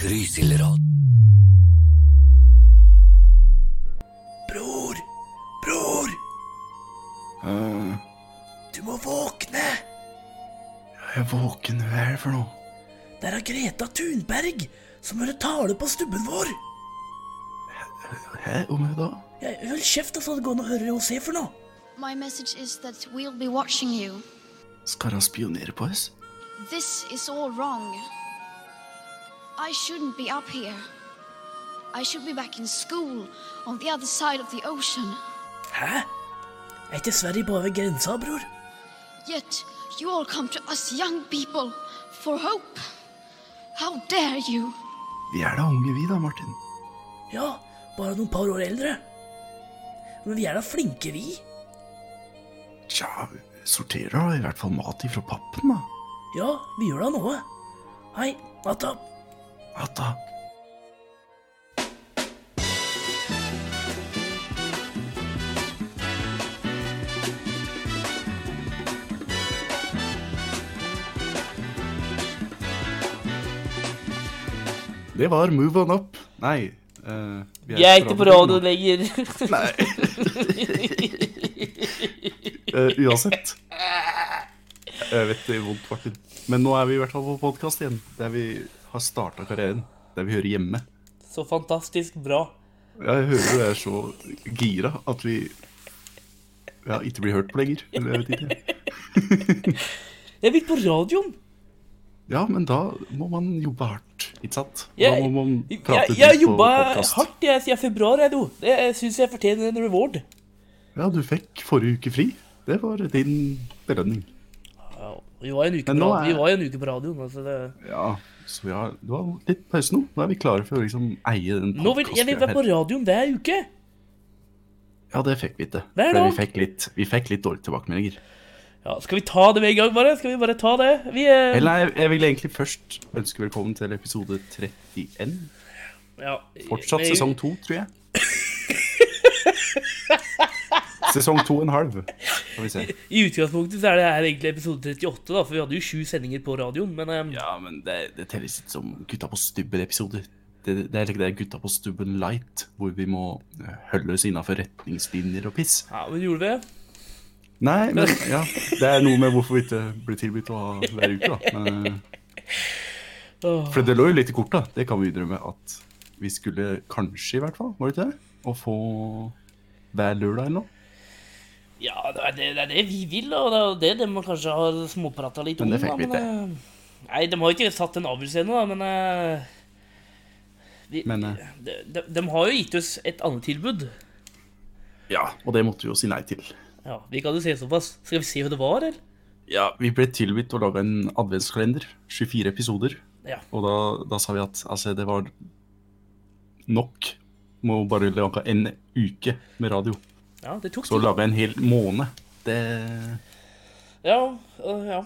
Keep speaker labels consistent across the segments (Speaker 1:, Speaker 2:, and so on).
Speaker 1: Grysilrad. Bror, bror,
Speaker 2: Eh,
Speaker 1: du må våkne!
Speaker 2: Jeg er våken, hva er det for noe?
Speaker 1: Der er Greta Thunberg som hører tale på stubben vår.
Speaker 2: Hæ, om jeg da?
Speaker 1: Jeg, hold kjeft, altså. så det går an å høre hva hun ser for noe.
Speaker 3: My message is that we'll be watching you.
Speaker 2: Skal han spionere på oss?
Speaker 3: This is all wrong. I shouldn't be up here. I should be back in school on the other side of the ocean.
Speaker 1: Hæ? Er ikke Sverige bare ved grensa, bror?
Speaker 3: Yet you all come to us young people for hope. How dare you?
Speaker 2: Vi er da unge vi da, Martin.
Speaker 1: Ja, bare noen par år eldre. Men vi er da flinke, vi.
Speaker 2: Tja, vi sorterer da i hvert fall mat ifra pappen da.
Speaker 1: Ja, vi gjør da noe. Hei, natta.
Speaker 2: Atta. Det var Move On Up. Nei. eh, vi
Speaker 4: Jeg er ikke på radio
Speaker 2: nå.
Speaker 4: lenger.
Speaker 2: Nei. Eh, uansett. Jeg vet det er vondt, Martin. Men nå er vi i hvert fall på podkast igjen. Der vi har starta karrieren. Der vi hører hjemme.
Speaker 4: Så fantastisk bra.
Speaker 2: Jeg hører du er så gira at vi ja, ikke blir hørt på lenger. Eller jeg vet ikke.
Speaker 4: Jeg vil på radioen.
Speaker 2: Ja, men da må man jobbe hardt, ikke sant? Da
Speaker 4: Jeg,
Speaker 2: må man
Speaker 4: jeg,
Speaker 2: prate
Speaker 4: jeg har
Speaker 2: dypt på
Speaker 4: jobba
Speaker 2: podcast.
Speaker 4: hardt jeg, siden februar. Jeg, do. Det syns jeg fortjener en reward.
Speaker 2: Ja, du fikk forrige uke fri. Det var din belønning.
Speaker 4: Ja, vi var jo en uke, på,
Speaker 2: Men nå
Speaker 4: ra-
Speaker 2: er-
Speaker 4: vi var jo en uke på radioen. Altså det...
Speaker 2: Ja, så vi har, du har litt pause nå. Nå er vi klare for å liksom eie den
Speaker 4: Nå vil, jeg vil være på
Speaker 2: podcasten.
Speaker 4: radioen hver uke.
Speaker 2: Ja, det fikk vi ikke.
Speaker 4: Hver
Speaker 2: For
Speaker 4: dag.
Speaker 2: vi fikk litt, vi fikk litt dårlige tilbakemeldinger.
Speaker 4: Ja, skal vi ta det med en gang, bare? Skal vi bare ta det? Vi, eh,
Speaker 2: Eller jeg, jeg vil egentlig først ønske velkommen til episode 31.
Speaker 4: ja,
Speaker 2: Fortsatt
Speaker 4: vi-
Speaker 2: sesong to, tror jeg. Sesong to og en halv, får vi se.
Speaker 4: I utgangspunktet så er det her egentlig episode 38, da, for vi hadde jo sju sendinger på radioen. Men eh,
Speaker 2: Ja, men det, det telles ikke som Gutta på stubben-episoder. Det, det er like det er Gutta på stubben light, hvor vi må eh, holde oss innafor retningslinjer og piss.
Speaker 4: ja, men gjorde vi det?
Speaker 2: Nei, men ja, det er noe med hvorfor vi ikke blir tilbudt å ha hver uke, da. Men, eh,
Speaker 4: Åh.
Speaker 2: for det lå jo litt i korta, det kan vi innrømme, at vi skulle kanskje, i hvert fall, var det ikke det? Å få hver lørdag eller noe.
Speaker 4: Ja, det er det, det er det vi vil, og det er jo det de man kanskje har småprata litt om.
Speaker 2: Men det fikk
Speaker 4: da,
Speaker 2: vi
Speaker 4: eh, Nei, de har jo ikke satt en avgjørelse ennå, da, men eh, vi,
Speaker 2: Men, eh,
Speaker 4: de, de, de har jo gitt oss et annet tilbud.
Speaker 2: Ja, og det måtte vi jo si nei til.
Speaker 4: Ja, Vi kan jo se såpass. Skal vi se hva det var, eller?
Speaker 2: Ja, vi ble tilbudt å lage en adventskalender, 24 episoder,
Speaker 4: Ja.
Speaker 2: og da, da sa vi at altså, det var nok. Må bare lage en uke med radio.
Speaker 4: ja, det tok
Speaker 2: Så
Speaker 4: tid.
Speaker 2: lage en hel måned. Det...
Speaker 4: Ja, øh, ja.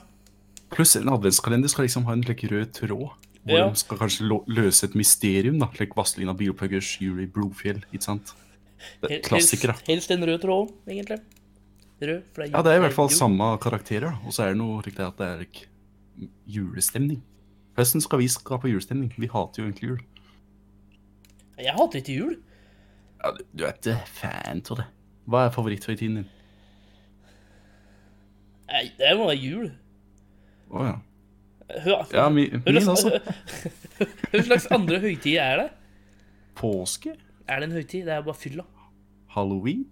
Speaker 2: Pluss en adventskalender skal liksom ha en slik rød tråd. Hvor
Speaker 4: Ja.
Speaker 2: de skal kanskje lå- løse et mysterium, da. Slik Vazelina Bioplaggers, Yuri Brofjell, ikke sant. Det er
Speaker 4: Hel-
Speaker 2: klassikere.
Speaker 4: Helst, helst en rød tråd, egentlig. Rød fra
Speaker 2: Ja, det er i hvert fall
Speaker 4: jul.
Speaker 2: samme karakterer, da. Og så er det noe slik det at det er like, julestemning. Høsten skal vi skape julestemning. Vi hater jo egentlig jul.
Speaker 4: Jeg hater ikke jul.
Speaker 2: Ja, du, du er ikke fan av det. Hva er favoritthøytiden din?
Speaker 4: Nei, det må være jul.
Speaker 2: Å ja.
Speaker 4: Hva
Speaker 2: Ja, mi, min altså.
Speaker 4: Hva slags andre høytid er det?
Speaker 2: Påske?
Speaker 4: Er det en høytid? Det er bare fylla.
Speaker 2: Halloween?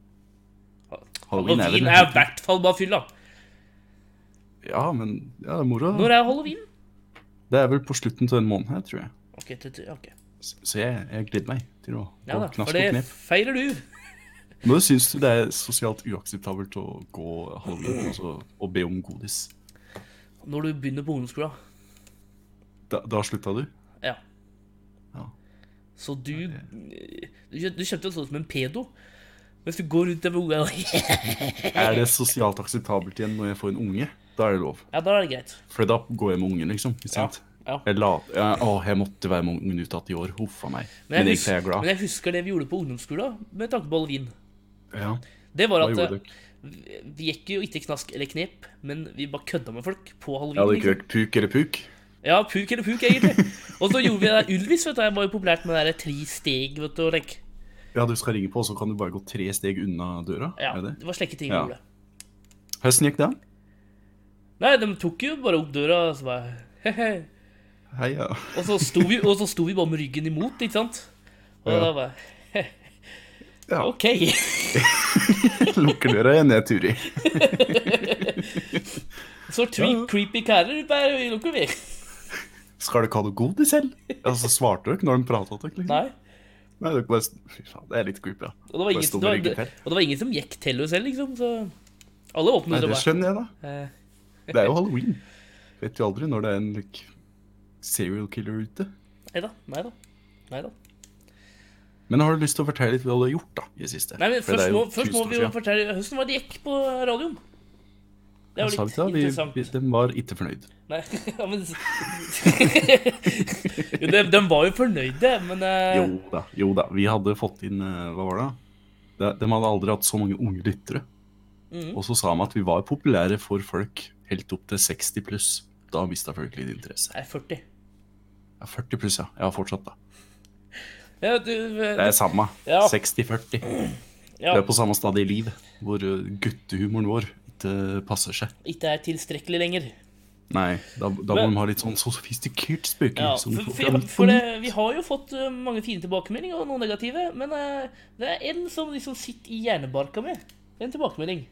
Speaker 4: Halloween
Speaker 2: Halloween er
Speaker 4: er,
Speaker 2: vel en
Speaker 4: i hvert fall bare fylla.
Speaker 2: Ja, men ja, det er moro.
Speaker 4: Når er halloween?
Speaker 2: Det er vel på slutten av den måneden her, tror jeg.
Speaker 4: Ok, det, det- ok.
Speaker 2: Så så jeg, jeg gleder meg til å
Speaker 4: Ja
Speaker 2: å
Speaker 4: da, for
Speaker 2: knaske og
Speaker 4: det
Speaker 2: knep.
Speaker 4: feirer du.
Speaker 2: Men syns du det er sosialt uakseptabelt å gå halloween og så- og be om godis?
Speaker 4: Når du begynner på ungdomsskolen.
Speaker 2: Da, da slutta du?
Speaker 4: Ja.
Speaker 2: Ja.
Speaker 4: Så du Du, kjø- du kjøpte jo sånn som en pedo. Mens du går rundt der med ungene
Speaker 2: Er det sosialt akseptabelt igjen når jeg får en unge? Da er det lov.
Speaker 4: Ja, da er det greit.
Speaker 2: For da går jeg med ungen, liksom. Ikke sant?
Speaker 4: Ja.
Speaker 2: Jeg la, ja, å, jeg måtte være med ungen ut igjen i år. Huff a meg. Men,
Speaker 4: Men jeg,
Speaker 2: egentlig er
Speaker 4: husker,
Speaker 2: jeg
Speaker 4: men
Speaker 2: glad.
Speaker 4: jeg husker det vi gjorde på ungdomsskolen med tanke på halloween.
Speaker 2: Ja.
Speaker 4: Det var
Speaker 2: Hva
Speaker 4: at eh,
Speaker 2: gjorde dere?
Speaker 4: vi vi gikk jo ikke knask eller knep, men vi bare kødda med folk på halloween.
Speaker 2: Ja, det
Speaker 4: liksom.
Speaker 2: gikk puk eller puk.
Speaker 4: Ja, puk eller puk, egentlig. Og så gjorde vi det der Ylvis, vet du. Det var jo populært med det der tre steg, vet du. og like.
Speaker 2: Ja, du skal ringe på, så kan du bare gå tre steg unna døra?
Speaker 4: Ja,
Speaker 2: Er det?
Speaker 4: det var slike ting vi
Speaker 2: Ja.
Speaker 4: gjorde.
Speaker 2: Høsten gikk det?
Speaker 4: Nei, de tok jo bare opp døra, og så bare he-he.
Speaker 2: Hei, ja.
Speaker 4: Og så sto vi, og så sto vi bare med ryggen imot, ikke sant? Og
Speaker 2: Ja.
Speaker 4: da bare
Speaker 2: Ja.
Speaker 4: OK.
Speaker 2: Lukker døra igjen, jeg, Turi.
Speaker 4: Så tre
Speaker 2: Ja, ja.
Speaker 4: creepy karer bare vi lukker vi.
Speaker 2: Skal du ikke ha noe god i selv? Altså, svarte dere når de pratet dere? Liksom?
Speaker 4: Nei.
Speaker 2: Nei, dere bare... Fy faen, det er litt creepy, ja.
Speaker 4: Og det var
Speaker 2: Bare
Speaker 4: ingen,
Speaker 2: sto
Speaker 4: det var,
Speaker 2: med ryggen
Speaker 4: det,
Speaker 2: til.
Speaker 4: og det var ingen som gikk til oss selv, liksom. Så alle
Speaker 2: Nei,
Speaker 4: åpnet og
Speaker 2: det
Speaker 4: bare
Speaker 2: skjønner jeg, da.
Speaker 4: eh,
Speaker 2: Det er jo halloween. Vet jo aldri når det er en like, serial killer ute.
Speaker 4: Nei da. Nei da. Nei da.
Speaker 2: Men har du lyst til å fortelle litt hva du har gjort da, i det siste?
Speaker 4: Nei, men
Speaker 2: For det
Speaker 4: først
Speaker 2: er
Speaker 4: må,
Speaker 2: jo
Speaker 4: først må
Speaker 2: 1000 år
Speaker 4: vi jo
Speaker 2: siden.
Speaker 4: fortelle høsten hva det gikk på radioen. Det er
Speaker 2: Jeg sa
Speaker 4: jo
Speaker 2: det
Speaker 4: litt
Speaker 2: til deg, vi-
Speaker 4: interessant.
Speaker 2: vi- Den var ikke fornøyd.
Speaker 4: Nei, ja, men Jo, de, de var jo fornøyde, men eh,
Speaker 2: Jo da, jo da. Vi hadde fått inn eh, Hva var det? da? De de hadde aldri hatt så mange unge lyttere.
Speaker 4: Mhm.
Speaker 2: Og så sa de at vi var populære for folk helt opp til 60 pluss. Da mista folk litt interesse.
Speaker 4: Nei, 40.
Speaker 2: Ja, 40 pluss, ja. Jeg har fortsatt, da.
Speaker 4: Ja, du,
Speaker 2: Det er samme.
Speaker 4: Ja.
Speaker 2: 60-40.
Speaker 4: ja,
Speaker 2: Vi er på samme stad i liv hvor eh, guttehumoren vår ikke passer seg.
Speaker 4: ikke er tilstrekkelig lenger.
Speaker 2: Nei, da, da må
Speaker 4: Men-
Speaker 2: de ha litt sånn sofistikert spøking.
Speaker 4: Ja,
Speaker 2: som
Speaker 4: for,
Speaker 2: folk
Speaker 4: for,
Speaker 2: kan-
Speaker 4: for det, vi har jo fått eh, mange fine tilbakemeldinger, og noen negative, men eh, det er en som liksom sitter i hjernebarka mi. En tilbakemelding.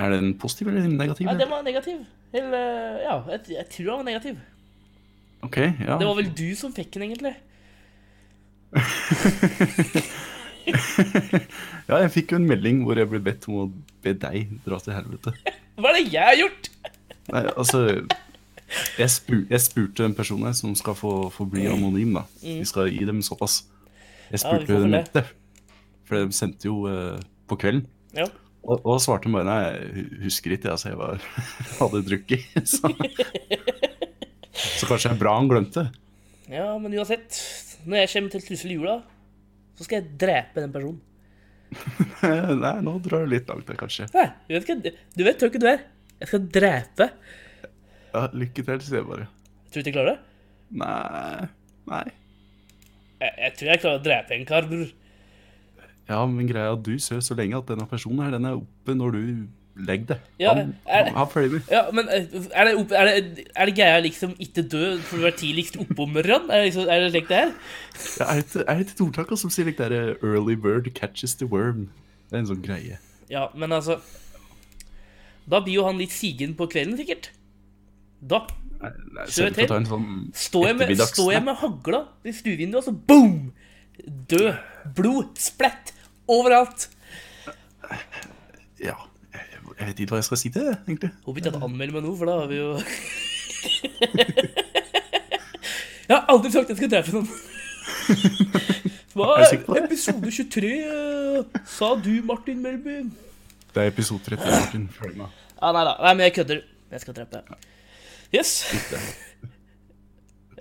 Speaker 2: Er den positiv eller negativ?
Speaker 4: Nei, den var negativ. Eller, eh, ja, jeg, jeg tror den var negativ.
Speaker 2: Ok, ja.
Speaker 4: Det var vel du som fikk den, egentlig.
Speaker 2: ja, jeg fikk jo en melding hvor jeg ble bedt om å be deg dra til helvete.
Speaker 4: Hva er det jeg har gjort?
Speaker 2: Nei, altså jeg, spur, jeg spurte en person her som skal få, få bli anonym, da. Vi skal gi dem såpass. Jeg
Speaker 4: Mm. Ja, vi
Speaker 2: spurte
Speaker 4: får
Speaker 2: dem
Speaker 4: vel
Speaker 2: etter, for de sendte jo eh, på kvelden.
Speaker 4: Ja.
Speaker 2: Og, og da svarte de bare nei, jeg husker ikke, jeg, så jeg var, hadde drukket. Så. så kanskje det er bra han glemte.
Speaker 4: ja, men uansett. Når jeg kommer til Trussel i jula, så skal jeg drepe den personen.
Speaker 2: nei, nå drar du litt langt, da, kanskje.
Speaker 4: Nei, du vet ikke, du vet jo ikke du er. Jeg skal drepe.
Speaker 2: Ja, lykke til, sier jeg bare.
Speaker 4: Tror du ikke jeg klarer det?
Speaker 2: Nei. Nei.
Speaker 4: Jeg, jeg tror jeg klarer å drepe en kar, bror.
Speaker 2: Ja, men greia er at du ser så lenge at denne personen her, den er oppe når du legger deg.
Speaker 4: Ja,
Speaker 2: han,
Speaker 4: er-
Speaker 2: han, han følger med.
Speaker 4: Ja, men eh, er det, opp, er det, er det greia liksom ikke dø for å være tidligst oppå morgenen? Er det liksom, er det slik det her?
Speaker 2: Ja, er det ikke- er det ikke et ordtak altså, som sier like, der, eh, early bird catches the worm? Det er en sånn greie.
Speaker 4: Ja, men altså Da blir jo han litt sigen på kvelden, sikkert. Da
Speaker 2: Nei, nei,
Speaker 4: Kjør
Speaker 2: så jeg får
Speaker 4: til.
Speaker 2: ta en sånn
Speaker 4: står jeg med,
Speaker 2: ettermiddags-
Speaker 4: står jeg med hagla i stuevinduet, og så boom! Død. Blod. Splett. Overalt.
Speaker 2: Ja, jeg, jeg vet ikke hva jeg skal si til det, egentlig.
Speaker 4: Håper ikke at anmelder meg nå, for da har vi jo Jeg har aldri sagt jeg skal drepe noen. Hva
Speaker 2: Er du sikker på det?
Speaker 4: episode 23 eh, sa du, Martin Melby?
Speaker 2: Det er episode 30, Martin. Følg med.
Speaker 4: Ja, nei da. Nei, men jeg kødder. Jeg skal drepe deg. Yes.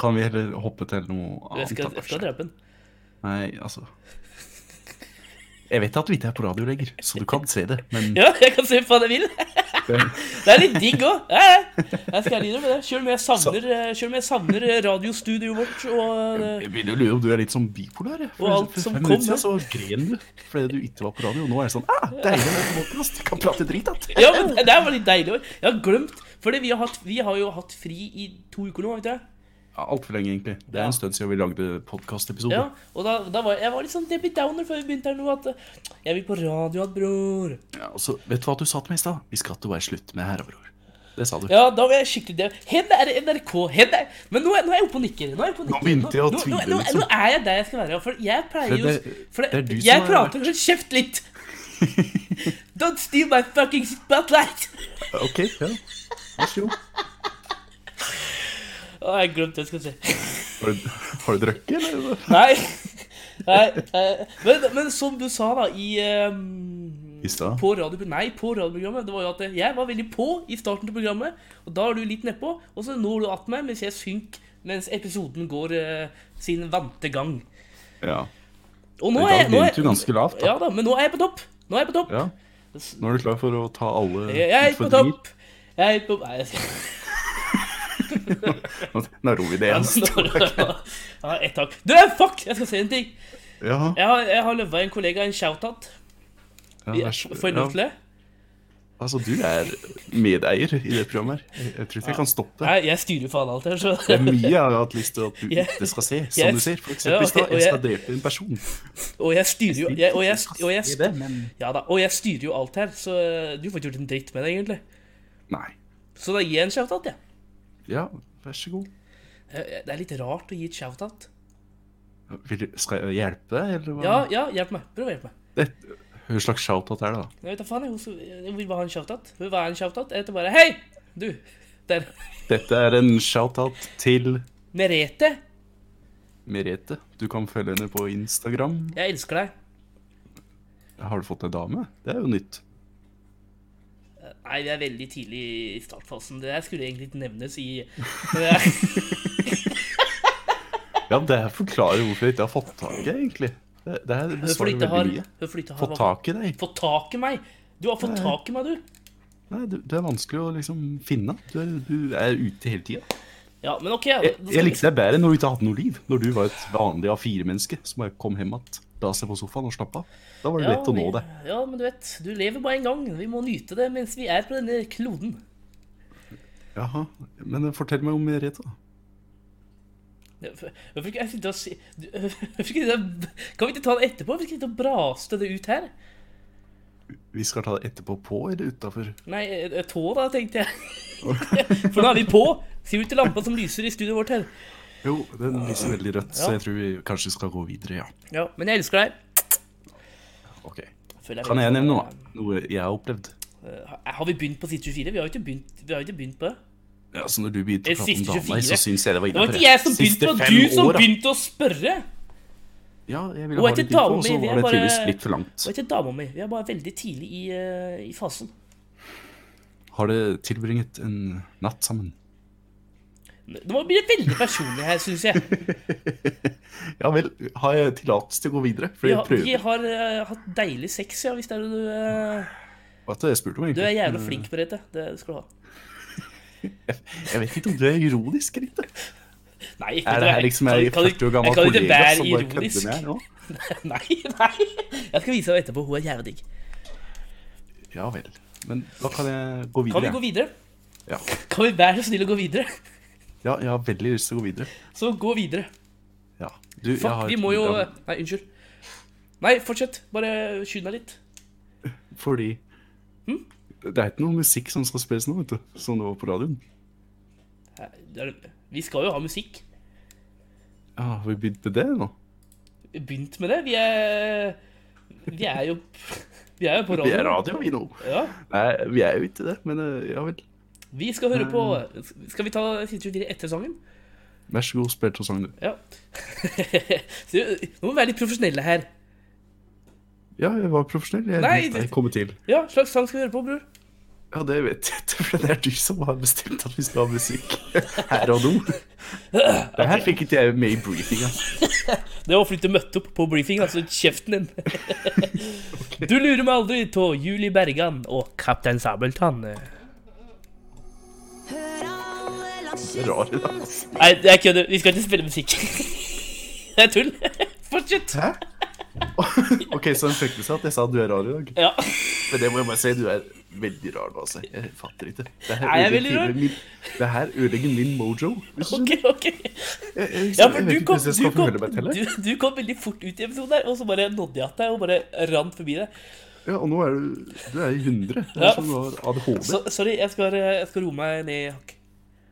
Speaker 2: Kan vi heller hoppe til noe
Speaker 4: Jeg
Speaker 2: annet?
Speaker 4: skal,
Speaker 2: da,
Speaker 4: jeg skal
Speaker 2: kanskje?
Speaker 4: drepe den.
Speaker 2: Nei, altså... Jeg vet at vi ikke er på radio lenger, så du kan se det, men...
Speaker 4: Ja, jeg kan se hva jeg vil. Det er litt digg òg. Jeg skal lide med det. Selv om jeg savner, eh, selv om jeg savner eh, radiostudioet vårt og eh,
Speaker 2: Jeg begynner å lure om du er litt sånn bipolar. jeg. For
Speaker 4: Og alt
Speaker 2: for
Speaker 4: som
Speaker 2: fem
Speaker 4: kom,
Speaker 2: minutter
Speaker 4: ja.
Speaker 2: siden så gren du fordi du ikke var på radio. Og nå er det sånn ah, Deilig med podcast, jeg kan prate drit, att.
Speaker 4: Ja, men det der var litt deilig. også. Jeg har glemt Fordi vi har, hatt, vi har jo hatt fri i to uker nå, vet jeg.
Speaker 2: Ja, Altfor lenge, egentlig. Det er
Speaker 4: Ja.
Speaker 2: en stund siden vi lagde podkastepisode.
Speaker 4: Ja, og da, da var jeg- jeg var litt sånn Debbie Downer før vi begynte her nå. At eh, jeg vil på radio igjen, bror.
Speaker 2: Ja, og så vet du hva du sa til meg i stad? Vi skal ikke bare slutte med herrebror. Det sa du.
Speaker 4: Ja, da var jeg skikkelig det. Hen er det NRK. Hen er... Men nå er, nå er jeg oppe og nikker. Nå, er jeg oppe og nikker.
Speaker 2: begynte jeg å
Speaker 4: Nå-
Speaker 2: tvile,
Speaker 4: Nå, nå,
Speaker 2: liksom.
Speaker 4: nå er jeg der jeg skal være. For jeg pleier
Speaker 2: For
Speaker 4: jo
Speaker 2: det-
Speaker 4: For
Speaker 2: det er du
Speaker 4: det,
Speaker 2: som
Speaker 4: jeg
Speaker 2: er
Speaker 4: prater Hold kjeft litt. Don't steal my fucking spotlight.
Speaker 2: OK, ja. Vær så god.
Speaker 4: Å, jeg glemte det jeg skulle si.
Speaker 2: Har du, har du drukket, eller?
Speaker 4: Nei. Nei. eh, Men, men som du sa, da, i ehm,
Speaker 2: I stad?
Speaker 4: På radio, nei, på radioprogrammet. Det var jo at jeg var veldig på i starten til programmet, og da er du litt nedpå, og så når du att meg mens jeg synker mens episoden går eh, sin vante gang.
Speaker 2: Ja.
Speaker 4: Og
Speaker 2: I
Speaker 4: nå er
Speaker 2: dag
Speaker 4: jeg, nå er,
Speaker 2: begynte du ganske lavt, da.
Speaker 4: ja da, men nå er jeg på topp. Nå er jeg på topp.
Speaker 2: Ja. Nå er du klar for å ta alle
Speaker 4: Jeg jeg er på
Speaker 2: utfordringer?
Speaker 4: topp. Jeg er på Nei, jeg skal
Speaker 2: Nå ror vi det igjen.
Speaker 4: Ja, ett tak. Du, eh, fuck! Jeg skal si en ting.
Speaker 2: Ja,
Speaker 4: Jeg har, jeg har løva en kollega en shout-out.
Speaker 2: ja, vær så-
Speaker 4: Får jeg lov til
Speaker 2: ja.
Speaker 4: det?
Speaker 2: Altså, du er medeier i det programmet her. Jeg- Jeg tror ikke jeg kan stoppe.
Speaker 4: Nei, jeg styrer faen alt her, så
Speaker 2: Det er mye jeg har hatt lyst til at du
Speaker 4: Jeg-
Speaker 2: ikke skal se, som
Speaker 4: jeg-
Speaker 2: du ser. For
Speaker 4: Ja,
Speaker 2: eksempel i
Speaker 4: ok,
Speaker 2: stad,
Speaker 4: og
Speaker 2: jeg
Speaker 4: jeg-
Speaker 2: skal drepe en person.
Speaker 4: Og jeg styrer jo jeg, og, jeg, og, jeg,
Speaker 2: Det er det, men...
Speaker 4: ja, da, og jeg styrer jo alt her, så du får ikke gjort en dritt med det, egentlig.
Speaker 2: Nei.
Speaker 4: Så da gir jeg en shout-out, jeg.
Speaker 2: Ja, vær så god.
Speaker 4: Ja. Det er litt rart å gi et shout-out.
Speaker 2: Vil du, skal jeg hjelpe deg, eller hva?
Speaker 4: Ja, ja, hjelp meg. Prøv å hjelpe meg.
Speaker 2: Det, hva slags shout-out er det, da?
Speaker 4: Jeg vet da faen, jeg, hun som- hun vil bare ha en shout-out. Hun vil bare ha en shout-out. Jeg heter bare Hei! Du, der.
Speaker 2: Dette er en shout-out til
Speaker 4: Merete,
Speaker 2: Merete. Du kan følge henne på Instagram.
Speaker 4: jeg elsker deg.
Speaker 2: Har du fått en dame? Det er jo nytt.
Speaker 4: Nei, vi er veldig tidlig i startfasen. Det her skulle egentlig ikke nevnes i Men jeg-
Speaker 2: Ja, det her forklarer hvorfor jeg ikke har fått tak i deg, egentlig. Det, det her
Speaker 4: Hvorfor du
Speaker 2: besvarer
Speaker 4: ikke har
Speaker 2: veldig mye.
Speaker 4: Hvorfor du ikke har
Speaker 2: Fått tak i deg?
Speaker 4: Fått tak i meg. Du har fått tak i meg, du.
Speaker 2: Nei, du, du er vanskelig å liksom finne. Du er, du er ute hele tida.
Speaker 4: Ja, men OK. da
Speaker 2: Jeg,
Speaker 4: skal
Speaker 2: jeg
Speaker 4: vi-
Speaker 2: likte deg bedre når du ikke hadde noe liv. Når du var et vanlig A4-menneske som bare kom hjem igjen, la seg på sofaen og slappa av. Da var det lett å nå
Speaker 4: vi-
Speaker 2: deg.
Speaker 4: Ja, men du vet, du lever bare en gang. Vi må nyte det mens vi er på denne kloden.
Speaker 2: Jaha, men fortell meg om Merete. da.
Speaker 4: Hvorfor ikke jeg sitte og si du- Hvorfor ikke det- Kan vi ikke ta det etterpå? Hvorfor ikke sitte og braste det ut her?
Speaker 2: Vi skal ta det etterpå på eller utafor?
Speaker 4: Nei, eh, tå da, tenkte jeg. For nå er vi på. Ser du til lampa som lyser i studioet vårt her?
Speaker 2: Jo, den lyser veldig rødt, så
Speaker 4: Ja.
Speaker 2: jeg tror vi kanskje skal gå videre, ja.
Speaker 4: Ja, men jeg elsker deg.
Speaker 2: Ok.
Speaker 4: Føler
Speaker 2: Kan jeg nevne noe? Noe jeg har opplevd?
Speaker 4: Eh, har- Har vi begynt på side 24? Vi har jo ikke begynt, vi har jo ikke begynt på det.
Speaker 2: Ja, så når du begynte
Speaker 4: Eh,
Speaker 2: å prate om
Speaker 4: siste
Speaker 2: dama,
Speaker 4: 24.
Speaker 2: så syns jeg det var
Speaker 4: Det var
Speaker 2: innafor.
Speaker 4: ikke jeg som begynte, det var du som begynte å spørre.
Speaker 2: Ja, jeg
Speaker 4: Hun
Speaker 2: ville ha
Speaker 4: er ikke
Speaker 2: det dit på,
Speaker 4: dame,
Speaker 2: og så
Speaker 4: vi er
Speaker 2: var det
Speaker 4: bare-
Speaker 2: tydeligvis litt for langt.
Speaker 4: Det var ikke dama mi. Vi er bare veldig tidlig i, eh, i fasen.
Speaker 2: Har det tilbringet en natt sammen?
Speaker 4: Det må bli veldig personlig her, syns jeg.
Speaker 2: Ja vel, har jeg tillatelse til å gå videre? For
Speaker 4: Vi
Speaker 2: jeg
Speaker 4: har, vi
Speaker 2: prøver.
Speaker 4: har eh, hatt deilig sex, ja, hvis det er det du eh,
Speaker 2: Hva er det jeg spurte om,
Speaker 4: Du er
Speaker 2: egentlig?
Speaker 4: jævla flink, Merete. Det skal du ha.
Speaker 2: Jeg vet ikke om du er ironisk eller ikke.
Speaker 4: Nei, ikke
Speaker 2: Er
Speaker 4: du
Speaker 2: det her liksom jeg
Speaker 4: kan- kan du-
Speaker 2: 40 år gammel
Speaker 4: jeg kan ikke
Speaker 2: kollega
Speaker 4: være
Speaker 2: som bare
Speaker 4: ironisk.
Speaker 2: kødder med her nå?
Speaker 4: Nei, nei. Jeg skal vise deg etterpå. Hun er jævla digg.
Speaker 2: Ja vel. Men da kan jeg gå
Speaker 4: Kan vi
Speaker 2: videre.
Speaker 4: gå videre?
Speaker 2: Ja.
Speaker 4: Kan vi være så snill å gå videre?
Speaker 2: ja, jeg har veldig lyst til å gå videre.
Speaker 4: Så gå videre.
Speaker 2: Ja. Du, jeg
Speaker 4: Fuck,
Speaker 2: har
Speaker 4: vi
Speaker 2: et
Speaker 4: må jo
Speaker 2: program.
Speaker 4: Nei, unnskyld. Nei, fortsett. Bare skynd deg litt.
Speaker 2: Fordi
Speaker 4: Hm?
Speaker 2: Det er ikke noe musikk som skal spilles nå, vet du. Som det var på radioen.
Speaker 4: Nei, det er- Vi skal jo ha musikk.
Speaker 2: Ja, Har vi begynt med det nå?
Speaker 4: Begynt med det. Vi er Vi er jo Vi er jo på
Speaker 2: Vi er
Speaker 4: radioen.
Speaker 2: radio, vi nå.
Speaker 4: Ja.
Speaker 2: Nei, vi er jo ikke det, men eh, ja vel.
Speaker 4: Vi skal høre på Skal vi ta siste 24 etter sangen?
Speaker 2: Vær så god, spill to sang, du.
Speaker 4: Ja. Så, nå må vi være litt profesjonelle her.
Speaker 2: Ja, jeg var profesjonell. Jeg
Speaker 4: Nei,
Speaker 2: lot deg
Speaker 4: det-
Speaker 2: komme til.
Speaker 4: Ja, slags sang skal vi høre på, bror?
Speaker 2: Ja, det vet jeg ikke, for det er du som har bestemt at vi skal ha musikk her og nå. Det her fikk ikke jeg med i briefinga.
Speaker 4: Det var fordi du møtte opp på briefing, altså kjeften din. Du lurer meg aldri av Julie Bergan og Kaptein Sabeltann. Nei,
Speaker 2: Rar i dag.
Speaker 4: jeg kødder. Vi skal ikke spille musikk. Det er tull. Fortsett.
Speaker 2: Hæ? OK, så den fikk med seg at jeg sa du er rar i dag.
Speaker 4: Ja.
Speaker 2: Men det må jeg bare si, du er veldig rar nå, altså. Jeg fatter ikke. Det her
Speaker 4: Er jeg veldig
Speaker 2: ødelegger
Speaker 4: rar?
Speaker 2: hele Min, det her ødelegger min mojo. Hvis du-
Speaker 4: Ok, ok.
Speaker 2: Jeg, jeg, jeg,
Speaker 4: Ja, for
Speaker 2: vet
Speaker 4: du
Speaker 2: ikke
Speaker 4: kom,
Speaker 2: hvordan jeg
Speaker 4: du,
Speaker 2: skal
Speaker 4: kom,
Speaker 2: forholde meg til det.
Speaker 4: du, du kom veldig fort ut i episoden der, og så bare nådde jeg til deg og bare rant forbi deg.
Speaker 2: Ja, og nå er du, du er i 100. Det er
Speaker 4: Ja.
Speaker 2: som du har ADHD.
Speaker 4: Så, sorry, jeg skal, jeg skal roe meg ned i hakk.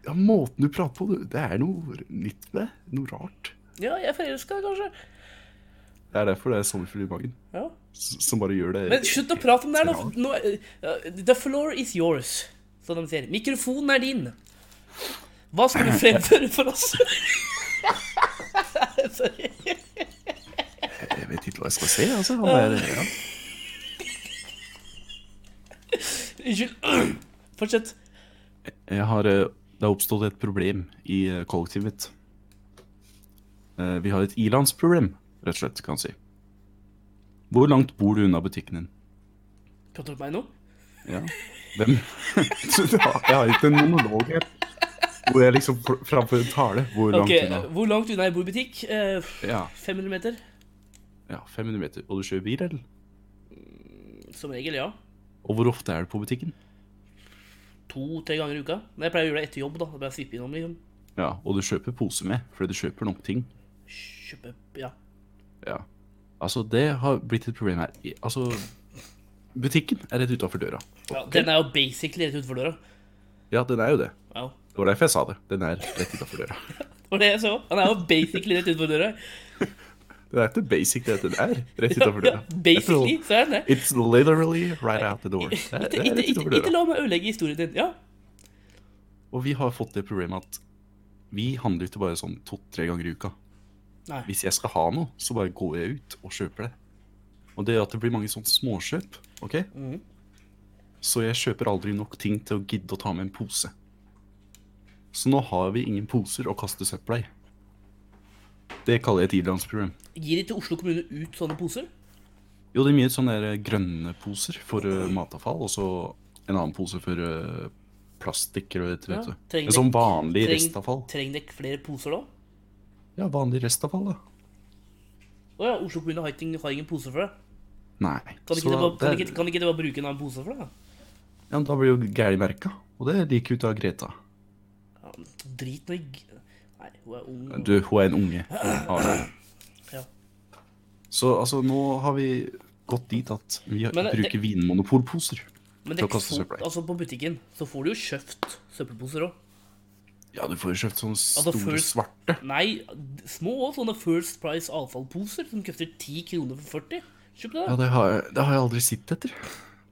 Speaker 2: Ja, måten du prater på, du, det er noe nytt med det. Noe rart.
Speaker 4: Ja, jeg er forelska, kanskje.
Speaker 2: Det er derfor det er sommerfugl i magen.
Speaker 4: Ja.
Speaker 2: s- Som bare gjør det
Speaker 4: Men slutt å prate om det her nå. nå er- ja, The floor is yours, som de sier. Mikrofonen er din. Hva skal du fremføre for oss? Sorry.
Speaker 2: Jeg vet ikke hva jeg skal se, altså. Han er, ja.
Speaker 4: Unnskyld. Fortsett.
Speaker 2: jeg har, eh, det har oppstått et problem i eh, kollektivet mitt. Eh, Vi har et ilandsproblem, rett og slett, kan jeg si. Hvor langt bor du unna butikken din?
Speaker 4: Prater du med meg nå?
Speaker 2: Ja. Hvem? Så du har- Jeg har ikke en monolog her. Hvor jeg liksom pr- framfor en tale. Hvor langt
Speaker 4: Ok, eh,
Speaker 2: unna?
Speaker 4: Hvor langt unna jeg bor i butikk? Eh,
Speaker 2: Ja,
Speaker 4: 500 meter?
Speaker 2: ja, 500 meter. Og du kjører bil, eller?
Speaker 4: Som regel, ja.
Speaker 2: Og hvor ofte er du på butikken?
Speaker 4: To-tre ganger i uka. Men jeg pleier å gjøre det etter jobb. da Da pleier jeg å svippe innom liksom
Speaker 2: Ja, Og du kjøper pose med, fordi du kjøper nok ting.
Speaker 4: Kjøpe, ja
Speaker 2: Ja. Altså, det har blitt et problem her. I- Altså, butikken er rett utafor døra.
Speaker 4: Ja, Den er jo basically rett utenfor døra.
Speaker 2: Ja, den er jo det.
Speaker 4: Ja.
Speaker 2: Det var derfor jeg sa det. Den er rett utafor døra.
Speaker 4: Det var det jeg så. Han er jo basically rett utenfor døra.
Speaker 2: Den er ikke basic, det den er. Rett utafor døra.
Speaker 4: basically, så er han det.
Speaker 2: It's literally right out the door. Det er, det
Speaker 4: Ikke,
Speaker 2: er
Speaker 4: ikke,
Speaker 2: rett
Speaker 4: ikke,
Speaker 2: utenfor
Speaker 4: ikke
Speaker 2: døra.
Speaker 4: la meg ødelegge historien din. Ja,
Speaker 2: Og vi har fått det problemet at vi handler ikke bare sånn to-tre ganger i uka.
Speaker 4: Nei.
Speaker 2: Hvis jeg skal ha noe, så bare går jeg ut og kjøper det. Og det gjør at det blir mange sånne småkjøp, OK?
Speaker 4: Mm.
Speaker 2: Så jeg kjøper aldri nok ting til å gidde å ta med en pose. Så nå har vi ingen poser å kaste søpla i. Det kaller jeg et ilandsproblem.
Speaker 4: Gir ikke Oslo kommune ut sånne poser?
Speaker 2: Jo, det er mye sånne der eh, grønne poser for eh, matavfall, og så en annen pose for eh, plastikk eller vet du.
Speaker 4: Ja,
Speaker 2: vet du.
Speaker 4: trenger
Speaker 2: Men sånn
Speaker 4: dekk-
Speaker 2: vanlig
Speaker 4: treng-
Speaker 2: restavfall.
Speaker 4: Trenger dere flere poser da?
Speaker 2: Ja, vanlig restavfall, da.
Speaker 4: Å ja, Oslo kommune har ikke har ingen poser for det.
Speaker 2: Nei.
Speaker 4: Kan
Speaker 2: så
Speaker 4: ikke dere bare,
Speaker 2: det
Speaker 4: kan
Speaker 2: er-
Speaker 4: ikke, kan ikke dere bare bruke en annen pose for det? da?
Speaker 2: Ja, men da blir det jo gærlig merka, og det liker ut av Greta.
Speaker 4: Ja, men drit nå i g- Nei, hun er ung. og-
Speaker 2: Du, hun er en unge. Hun har det.
Speaker 4: Ja.
Speaker 2: Så altså, nå har vi gått dit at vi
Speaker 4: Men det-
Speaker 2: bruker vinmonopolposer.
Speaker 4: Men
Speaker 2: til å
Speaker 4: dere
Speaker 2: kaste
Speaker 4: får,
Speaker 2: søpla i.
Speaker 4: altså på butikken så får du jo kjøpt søppelposer òg.
Speaker 2: Ja, du får jo kjøpt sånne
Speaker 4: Altså,
Speaker 2: store
Speaker 4: first-
Speaker 2: svarte.
Speaker 4: Nei, d- små og sånne First Price avfallposer som koster 10 kroner for 40. Kjøp det, da.
Speaker 2: Ja, det har, jeg, det har jeg aldri sett etter.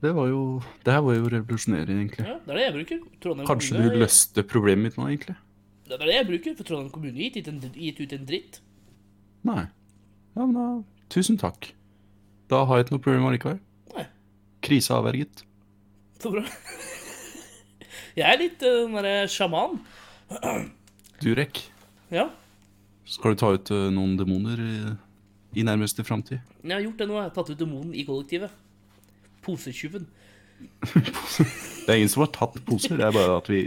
Speaker 2: Det var jo Det her var jo revolusjonerende, egentlig.
Speaker 4: Ja, det er det jeg bruker. Trondheim
Speaker 2: Kanskje
Speaker 4: kommune-
Speaker 2: du løste problemet mitt nå, egentlig?
Speaker 4: Det er det jeg bruker, for Trondheim kommune gitt, gitt, en, gitt ut en dritt.
Speaker 2: Nei. Ja, men da Tusen takk. Da har jeg ikke noe problem allikevel.
Speaker 4: Nei.
Speaker 2: Krisa avverget.
Speaker 4: Så bra. Jeg er litt eh, den derre sjaman.
Speaker 2: Durek,
Speaker 4: Ja.
Speaker 2: skal du ta ut ø, noen demoner i, i nærmeste framtid?
Speaker 4: Jeg har gjort det nå. Jeg har tatt ut demonen i kollektivet. Posetyven.
Speaker 2: Det er ingen som har tatt poser, det er bare at vi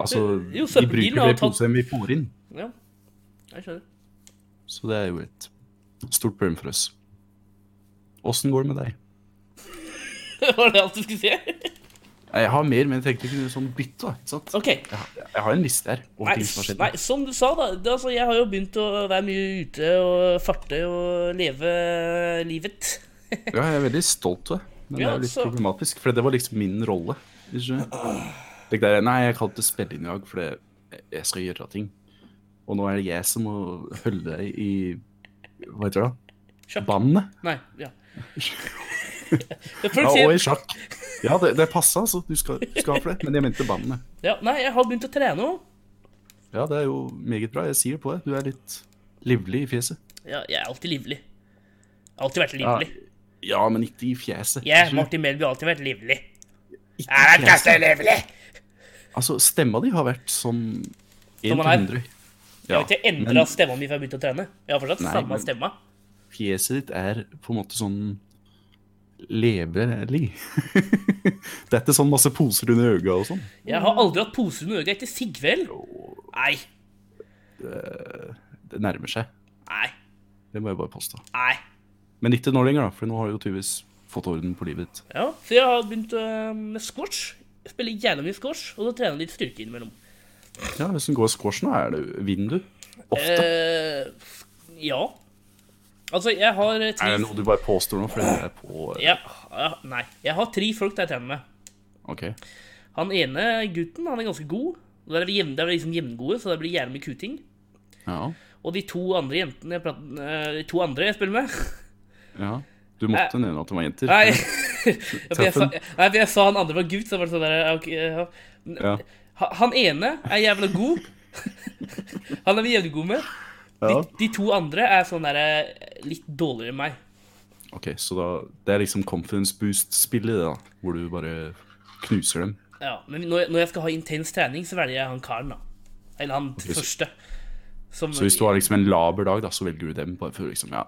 Speaker 2: Altså,
Speaker 4: Jo,
Speaker 2: vi
Speaker 4: søppelbilen
Speaker 2: bruker
Speaker 4: har
Speaker 2: flere
Speaker 4: tatt-
Speaker 2: poser enn vi får inn.
Speaker 4: Ja. Jeg skjønner.
Speaker 2: Så det er jo et stort problem for oss. Åssen går det med deg?
Speaker 4: Var det alt du skulle si?
Speaker 2: Nei, Jeg har mer, men jeg tenkte jeg kunne sånn bytte, da. Ikke sant?
Speaker 4: OK.
Speaker 2: Jeg har- Jeg har en liste her over
Speaker 4: Nei,
Speaker 2: ting som har skjedd.
Speaker 4: nei, som du sa, da. Det, altså, jeg har jo begynt å være mye ute og farte og leve livet.
Speaker 2: Ja, jeg er veldig stolt av det. Men
Speaker 4: Ja,
Speaker 2: det er jo litt
Speaker 4: så-
Speaker 2: problematisk, for det var liksom min rolle. hvis du skjønner. Det der, nei, jeg kan ikke spille inn i dag, for det- jeg skal gjøre ting. Og nå er det jeg som må holde deg i Hva heter det? da?
Speaker 4: Sjakk.
Speaker 2: Bandet.
Speaker 4: Nei, ja. For
Speaker 2: Ja, og i
Speaker 4: eksempel,
Speaker 2: sjakk. Ja, det, det passa, altså. Du skal, du skal ha for det. Men jeg mente bandet.
Speaker 4: ja, nei, jeg har begynt å trene òg.
Speaker 2: Ja, det er jo meget bra. Jeg sier det på deg. Du er litt livlig i fjeset.
Speaker 4: Ja, jeg er alltid livlig. Jeg har alltid vært livlig.
Speaker 2: Ja, men ikke i fjeset.
Speaker 4: Jeg,
Speaker 2: Ikke-
Speaker 4: Martin Melby, har alltid vært livlig. Jeg
Speaker 2: ikke i
Speaker 4: har
Speaker 2: fjeset.
Speaker 4: alltid livlig!
Speaker 2: Altså, stemma di har vært sånn 1
Speaker 4: Som
Speaker 2: til
Speaker 4: han er.
Speaker 2: 100.
Speaker 4: Jeg har ikke endra stemma mi før jeg begynte å trene. Jeg har fortsatt
Speaker 2: Nei,
Speaker 4: samme
Speaker 2: men-
Speaker 4: stemma.
Speaker 2: fjeset ditt er på en måte sånn leverlig. det er ikke sånn masse poser under øynene og sånn.
Speaker 4: Jeg har aldri hatt pose under øyet etter Sigveld. Nei,
Speaker 2: Det nærmer seg.
Speaker 4: nei,
Speaker 2: Det må jeg bare påstå.
Speaker 4: nei.
Speaker 2: Men ikke nå lenger, da, for nå har du jo tydeligvis fått orden på livet ditt.
Speaker 4: Ja, så jeg har begynt øh, med squash. Jeg spiller gjerne mye squash, og så trener jeg litt styrke innimellom.
Speaker 2: Ja, Hvis den går squash nå, er det vindu. Ofte.
Speaker 4: Eh, ja. Altså, jeg har eh,
Speaker 2: er det
Speaker 4: tre
Speaker 2: noe du bare påstår nå fordi det er på eh,
Speaker 4: ja, ja, Nei. Jeg har tre folk jeg trener med.
Speaker 2: OK.
Speaker 4: Han ene gutten han er ganske god. Og Der er vi, jevn, der er vi liksom jevngode, så det blir gjerne mye kuting.
Speaker 2: Ja.
Speaker 4: Og de to andre jentene jeg prater, eh, de to andre jeg spiller med
Speaker 2: ja. Du måtte nevne at det var jenter.
Speaker 4: Eh, Nei, for jeg, sa, nei for jeg sa han andre var gutt, så jeg var sånn der, ok, ja.
Speaker 2: Ja.
Speaker 4: Ha- Han ene er jævla god. Han er vi jævlig gode med. De,
Speaker 2: Ja.
Speaker 4: de to andre er sånn der eh, litt dårligere enn meg.
Speaker 2: OK, så da Det er liksom confidence boost-spillet, det da. Hvor du bare knuser dem.
Speaker 4: Ja, men når jeg, når jeg skal ha intens trening, så velger jeg han karen, da. Eller han
Speaker 2: så-
Speaker 4: første. Som,
Speaker 2: Så hvis du har liksom en laber dag, da, så velger du dem bare for liksom, ja,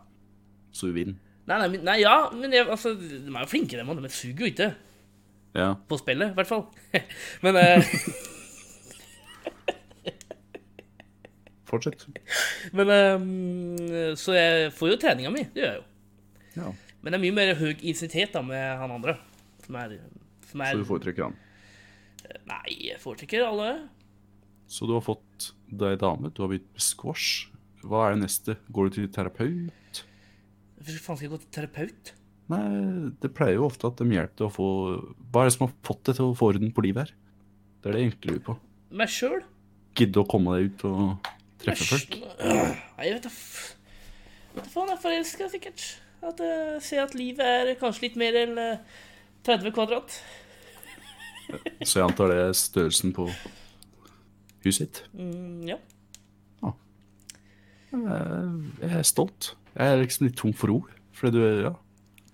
Speaker 2: så du vinner.
Speaker 4: Nei, nei, men- nei ja, men jeg, altså, de er jo flinke, de, men de suger jo ikke.
Speaker 2: Ja.
Speaker 4: På spillet, i hvert fall. Men eh,
Speaker 2: Fortsett.
Speaker 4: Men, eh, så jeg får jo treninga mi, det gjør jeg jo.
Speaker 2: Ja.
Speaker 4: Men det er mye mer høy intensitet da med han andre. Som er, som
Speaker 2: Så
Speaker 4: er
Speaker 2: du foretrekker han.
Speaker 4: Nei, jeg foretrekker alle.
Speaker 2: Så du har fått deg dame, du har begynt med squash. Hva er det neste? Går du til terapeut?
Speaker 4: Hvorfor faen skal jeg gå til terapeut?
Speaker 2: Nei, det pleier jo ofte at de hjelper deg å få Hva er det som har fått deg til å få orden på livet her? Det er det jeg egentlig lurer på.
Speaker 4: Meg sjøl?
Speaker 2: Gidde å komme deg ut og treffe folk?
Speaker 4: Nei, jeg vet da f- Vet da faen, jeg er forelska sikkert. At jeg ser at livet er kanskje litt mer enn eh, 30 kvadrat.
Speaker 2: Så jeg antar det er størrelsen på huset sitt.
Speaker 4: Mm, ja.
Speaker 2: Eh, Jeg er stolt. Jeg er liksom litt tom for ord. Fordi du, ja,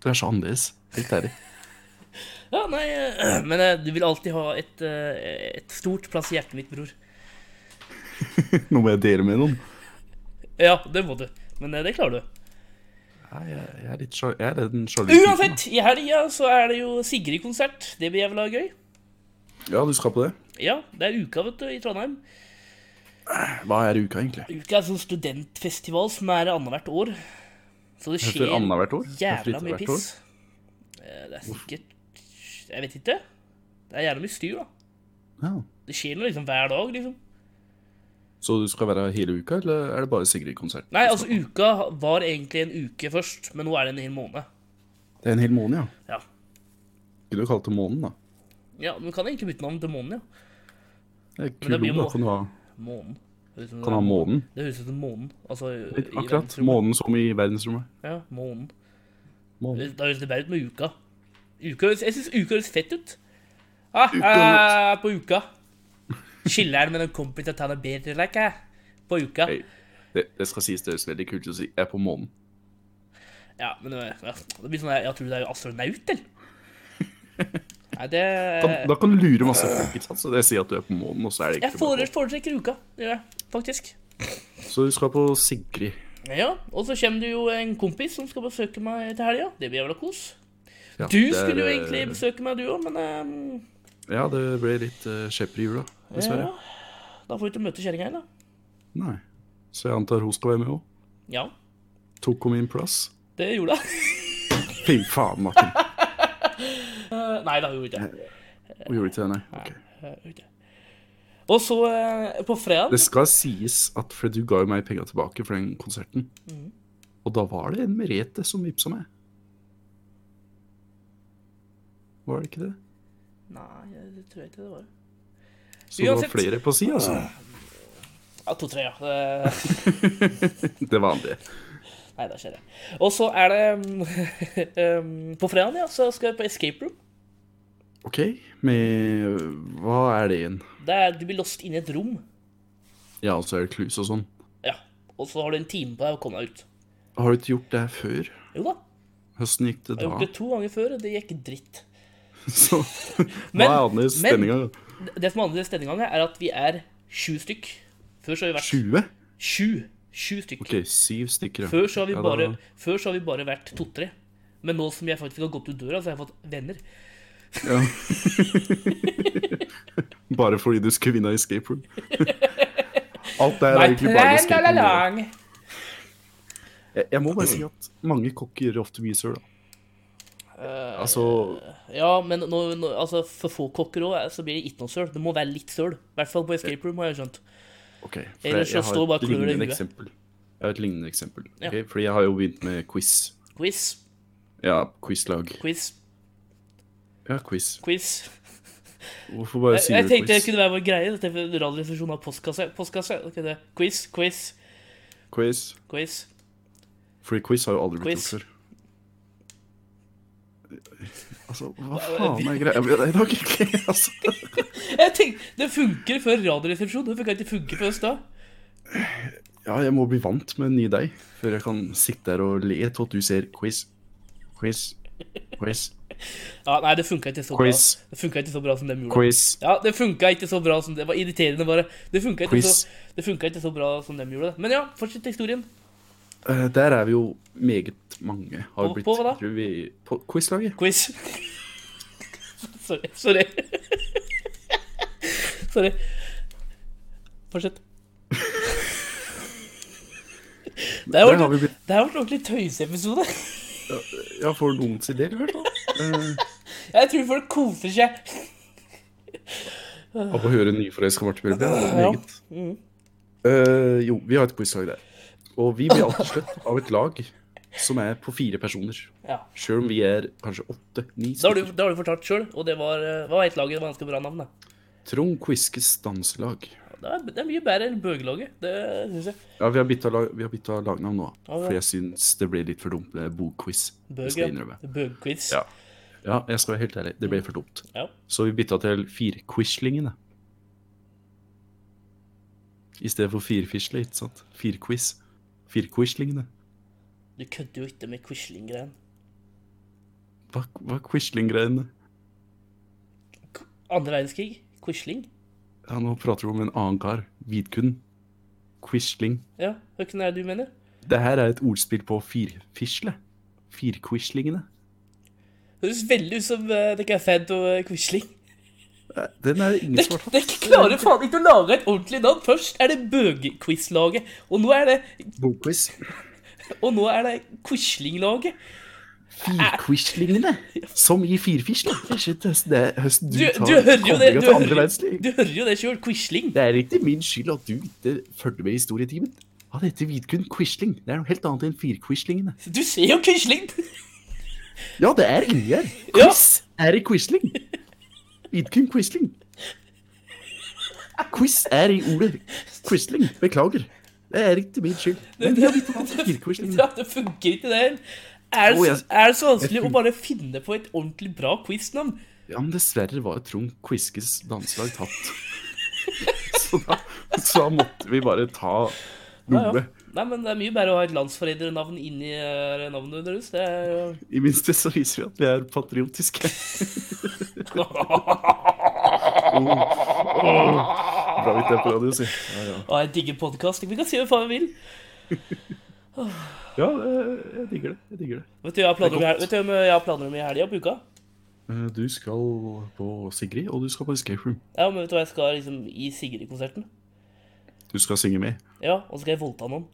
Speaker 2: du er så annerledes. Helt ærlig.
Speaker 4: ja, nei eh, Men eh, du vil alltid ha et, eh, et stort plass i hjertet mitt, bror.
Speaker 2: Nå må jeg dele med noen.
Speaker 4: Ja, det må du. Men eh, det klarer du.
Speaker 2: Nei, jeg, jeg er litt sjalu. Jeg er den sjalu. typen, da.
Speaker 4: Uansett, i helga så er det jo Sigrid-konsert. Det blir jævla gøy.
Speaker 2: Ja, du skal på det.
Speaker 4: Ja, det er uka, vet du, i Trondheim.
Speaker 2: Hva er uka, egentlig?
Speaker 4: Uka er en sånn studentfestival som er annethvert år. Så det
Speaker 2: Etter
Speaker 4: skjer
Speaker 2: annethvert år?
Speaker 4: jævla
Speaker 2: Etter
Speaker 4: mye
Speaker 2: hvert år?
Speaker 4: piss. Eh, Det er sikkert Jeg vet ikke. Det er jævla mye styr, da.
Speaker 2: Ja.
Speaker 4: Det skjer noe liksom hver dag, liksom.
Speaker 2: Så du skal være her hele uka, eller er det bare Sigrid-konsert?
Speaker 4: Nei, altså, uka var egentlig en uke først, men nå er det en hel måned.
Speaker 2: Det er en hel måned, ja.
Speaker 4: Ja.
Speaker 2: Skulle du kalt det månen, da?
Speaker 4: Ja, men kan jeg egentlig bytte navn til månen, ja.
Speaker 2: Det er
Speaker 4: det
Speaker 2: kul
Speaker 4: blir
Speaker 2: ord, da.
Speaker 4: må-
Speaker 2: Kan du ha,
Speaker 4: Månen. Det høres ut som-
Speaker 2: kan du ha månen?
Speaker 4: Det høres ut som månen. Altså, i- i
Speaker 2: Akkurat.
Speaker 4: verdensrommet.
Speaker 2: Månen som i verdensrommet.
Speaker 4: Ja, månen.
Speaker 2: Månen.
Speaker 4: Da høres det bedre ut med uka. uka høres- jeg syns uka høres fett ut. Ah,
Speaker 2: Uka
Speaker 4: ah, på uka. Chiller'n med noen kompiser og tar det bedre like, eh, på uka.
Speaker 2: Hei. Det, det skal sies, det høres veldig kult ut å si. Jeg er på månen.
Speaker 4: Ja, men det, ja, det blir sånn der, Jeg tror du er jo astronaut, eller? Nei, det
Speaker 2: Da, da kan du lure masse folk, ikke sant? Så det sier at du er på månen, og så er det
Speaker 4: Eh. Jeg
Speaker 2: egentlig bare
Speaker 4: fore- foretrekker uka, gjør jeg, faktisk.
Speaker 2: månen. Så du skal på Sigrid.
Speaker 4: Ja, Og så kommer det jo en kompis som skal besøke meg til helga. Det blir jævla kos.
Speaker 2: Ja,
Speaker 4: Du
Speaker 2: det er,
Speaker 4: skulle jo
Speaker 2: eh,
Speaker 4: egentlig besøke meg, du òg, men ehm,
Speaker 2: Ja, det ble litt uh, skjepper i jula, dessverre.
Speaker 4: ja, Da får du ikke møte kjerringa heller.
Speaker 2: Nei. Så jeg antar hun skal være med òg.
Speaker 4: Ja,
Speaker 2: Tok hun min plass?
Speaker 4: det gjorde hun.
Speaker 2: Fy faen, Martin.
Speaker 4: Nei, det gjorde hun ikke.
Speaker 2: Hun gjorde ikke det, nei. Ok.
Speaker 4: Ute. Og så eh, på fredag
Speaker 2: Det skal sies at for du ga jo meg penger tilbake for den konserten.
Speaker 4: Mm.
Speaker 2: Og da var det en Merete som vippsa meg. Var det ikke det?
Speaker 4: Nei, det tror jeg ikke det var.
Speaker 2: Så
Speaker 4: Uansett.
Speaker 2: det var flere på si, altså.
Speaker 4: Ja, to-tre, ja. Eh,
Speaker 2: Det var andre.
Speaker 4: Nei, da skjer det. Og så er det um, På fredag ja, så skal vi på escape room.
Speaker 2: OK, med øh, Hva er det igjen?
Speaker 4: Der du blir låst inne i et rom.
Speaker 2: Ja, altså er det clues og sånn.
Speaker 4: Ja. Og så har du en time på deg å komme deg ut.
Speaker 2: Har du ikke gjort det her før?
Speaker 4: Jo da.
Speaker 2: Høsten gikk det
Speaker 4: Jeg har
Speaker 2: da?
Speaker 4: gjort det to ganger før, og det gikk dritt.
Speaker 2: Så hva
Speaker 4: Men-
Speaker 2: er annerledes
Speaker 4: men-
Speaker 2: denne gangen?
Speaker 4: Det som er annerledes denne gangen, er at vi er sju stykk. Før så har vi vært
Speaker 2: 20?
Speaker 4: sju. Sju stykk.
Speaker 2: OK, syv stykker. ja.
Speaker 4: Før så har vi
Speaker 2: Ja, da-
Speaker 4: bare, før så har vi bare vært to-tre. Men nå som jeg faktisk har gått ut døra, så har jeg fått venner.
Speaker 2: Ja. Bare fordi du skulle vinne Escape Room. Alt det her er
Speaker 4: My
Speaker 2: egentlig bare
Speaker 4: plan all
Speaker 2: Escape Room.
Speaker 4: along.
Speaker 2: Jeg, jeg må bare si at mange kokker gjør ofte mye søl. da.
Speaker 4: Eh,
Speaker 2: Altså
Speaker 4: Ja, men nå, nå, altså, for få kokker òg, så blir det ikke noe søl. Det må være litt søl. I hvert fall på escape room, har jeg skjønt.
Speaker 2: OK. For jeg,
Speaker 4: Ellers så
Speaker 2: jeg
Speaker 4: står
Speaker 2: har
Speaker 4: bare
Speaker 2: et
Speaker 4: klør i
Speaker 2: lignende
Speaker 4: huet.
Speaker 2: eksempel. Jeg har et lignende eksempel.
Speaker 4: Ja.
Speaker 2: ok? Fordi jeg har jo begynt med quiz.
Speaker 4: Quiz,
Speaker 2: Ja, quizlag.
Speaker 4: quiz,
Speaker 2: Ja, quiz.
Speaker 4: quiz.
Speaker 2: Hvorfor bare
Speaker 4: Jeg,
Speaker 2: sier
Speaker 4: jeg
Speaker 2: du
Speaker 4: tenkte det
Speaker 2: quiz?
Speaker 4: kunne være vår greie. Dette er radioresepsjonen av postkasse. postkasse. det kunne det. Quiz, quiz,
Speaker 2: Quiz.
Speaker 4: quiz.
Speaker 2: Fordi quiz har jo aldri blitt
Speaker 4: Quiz.
Speaker 2: gjort før. Altså, hva faen er greia med deg i dag, egentlig? Altså.
Speaker 4: Jeg tenkte, Det funker før Radioresepsjonen. Det funka ikke funke før da.
Speaker 2: Ja, jeg må bli vant med en ny deg før jeg kan sitte her og le til at du ser quiz, quiz, quiz,
Speaker 4: Ja, nei, det funka ikke så bra.
Speaker 2: Quiz.
Speaker 4: Det funka ikke så bra som de gjorde.
Speaker 2: quiz.
Speaker 4: Ja, det funka ikke så bra som det var irriterende, bare. Det funka ikke,
Speaker 2: Quiz.
Speaker 4: så- det funka ikke så bra som de gjorde det. Men ja, fortsett historien.
Speaker 2: Eh, der er vi jo meget mange. Har
Speaker 4: På-
Speaker 2: blitt,
Speaker 4: på hva da?
Speaker 2: Tror vi, på quizlaget.
Speaker 4: Quiz. sorry. Sorry. sorry. Fortsett. Det har
Speaker 2: Der har vi
Speaker 4: vært
Speaker 2: blitt-
Speaker 4: det har vært en ordentlig tøyseepisode.
Speaker 2: Ja, for noen sin del, i hvert fall. Eh,
Speaker 4: Jeg tror folk koser seg.
Speaker 2: Av å høre nyforelska Marte Bjørnberg. det er
Speaker 4: Ja.
Speaker 2: meget. Eh, jo, vi har et quizlag der. Og vi blir alltid slått av et lag som er på fire personer.
Speaker 4: Ja.
Speaker 2: Sjøl om vi er kanskje åtte-ni
Speaker 4: Det har du,
Speaker 2: stykker.
Speaker 4: det har du fortalt sjøl, og det var eh, Hva het laget? Det var ganske bra navn, da.
Speaker 2: Trond Quiskes danselag.
Speaker 4: Det er, det er mye bedre enn Bøgelaget. Det syns jeg.
Speaker 2: Ja, vi har bytta lag, vi har bytta lagnavn nå.
Speaker 4: Ja, ja.
Speaker 2: For jeg syns det ble litt for dumt med bokquiz. Det skal jeg innrømme.
Speaker 4: Bøgquiz.
Speaker 2: Ja. Ja, jeg skal være helt ærlig. Det ble for dumt.
Speaker 4: Ja.
Speaker 2: Så vi bytta til Firquislingene. I stedet for Firfisle, ikke sant? Firquiz. Firquislingene.
Speaker 4: Du kødder jo ikke med Quisling-greien.
Speaker 2: Hva, hva er Quisling-greiene?
Speaker 4: K- Andre verdenskrig? Quisling?
Speaker 2: Ja, nå prater du om en annen kar. Vidkun. Quisling.
Speaker 4: Ja, hvem er det du mener?
Speaker 2: Det her er et ordspill på firfisle. Firquislingene.
Speaker 4: Det høres veldig ut som uh, The Cathad og eh, Quisling.
Speaker 2: Nei, Den er det ingen som har tatt.
Speaker 4: Dere klarer faen ikke å lage et ordentlig navn. Først er det Bøgequiz-laget, og nå er det,
Speaker 2: Bokquiz.
Speaker 4: og nå er det Quisling-laget.
Speaker 2: Firquislingene, som gir firfisle. Det er ikke høsten- det er høsten du,
Speaker 4: Du,
Speaker 2: tar
Speaker 4: du hører jo det
Speaker 2: koblinga
Speaker 4: du
Speaker 2: til andre
Speaker 4: hører,
Speaker 2: verdenskrig.
Speaker 4: du hører jo det sjøl. Quisling.
Speaker 2: Det er ikke min skyld at du ikke følger med i historietimen. Han heter Vidkun Quisling. Det er noe helt annet enn firquislingene.
Speaker 4: Du ser jo Quisling!
Speaker 2: Ja, det er inni her.
Speaker 4: Ja.
Speaker 2: Quiz er i Quisling. Vidkun Quisling. Quiz er i ordet Quisling. Beklager. Det er ikke min skyld. Men vi har litt annet enn firquislingene.
Speaker 4: Ja, det funker ikke, det her. Er,
Speaker 2: Jo,
Speaker 4: det
Speaker 2: jeg-
Speaker 4: så- er det så vanskelig
Speaker 2: jeg
Speaker 4: å
Speaker 2: fun-
Speaker 4: bare finne på et ordentlig bra quiznavn?
Speaker 2: Ja, men dessverre var Trond Quiskes danselag tatt. Så da, så da måtte vi bare ta
Speaker 4: Ja, ja.
Speaker 2: noe.
Speaker 4: Nei, men det er mye bedre å ha et landsforrædernavn inni eh, navnet deres. Det er jo
Speaker 2: I minste så viser vi at vi er patriotiske. Oh, Bra vi ikke er på radio, si. Ja, ja.
Speaker 4: Å, jeg digger podkast. Vi kan si hva faen vi vil.
Speaker 2: ja, eh, jeg digger det. Jeg digger det.
Speaker 4: Vet du hva jeg har planer om i
Speaker 2: Det er
Speaker 4: hel- vet du hvem jeg har planer om i helga på uka?
Speaker 2: Eh, Du skal på Sigrid, og du skal på Escape Room.
Speaker 4: Ja, men vet du hva jeg skal liksom i Sigrid-konserten?
Speaker 2: Du skal synge med.
Speaker 4: Ja, og så skal jeg voldta noen.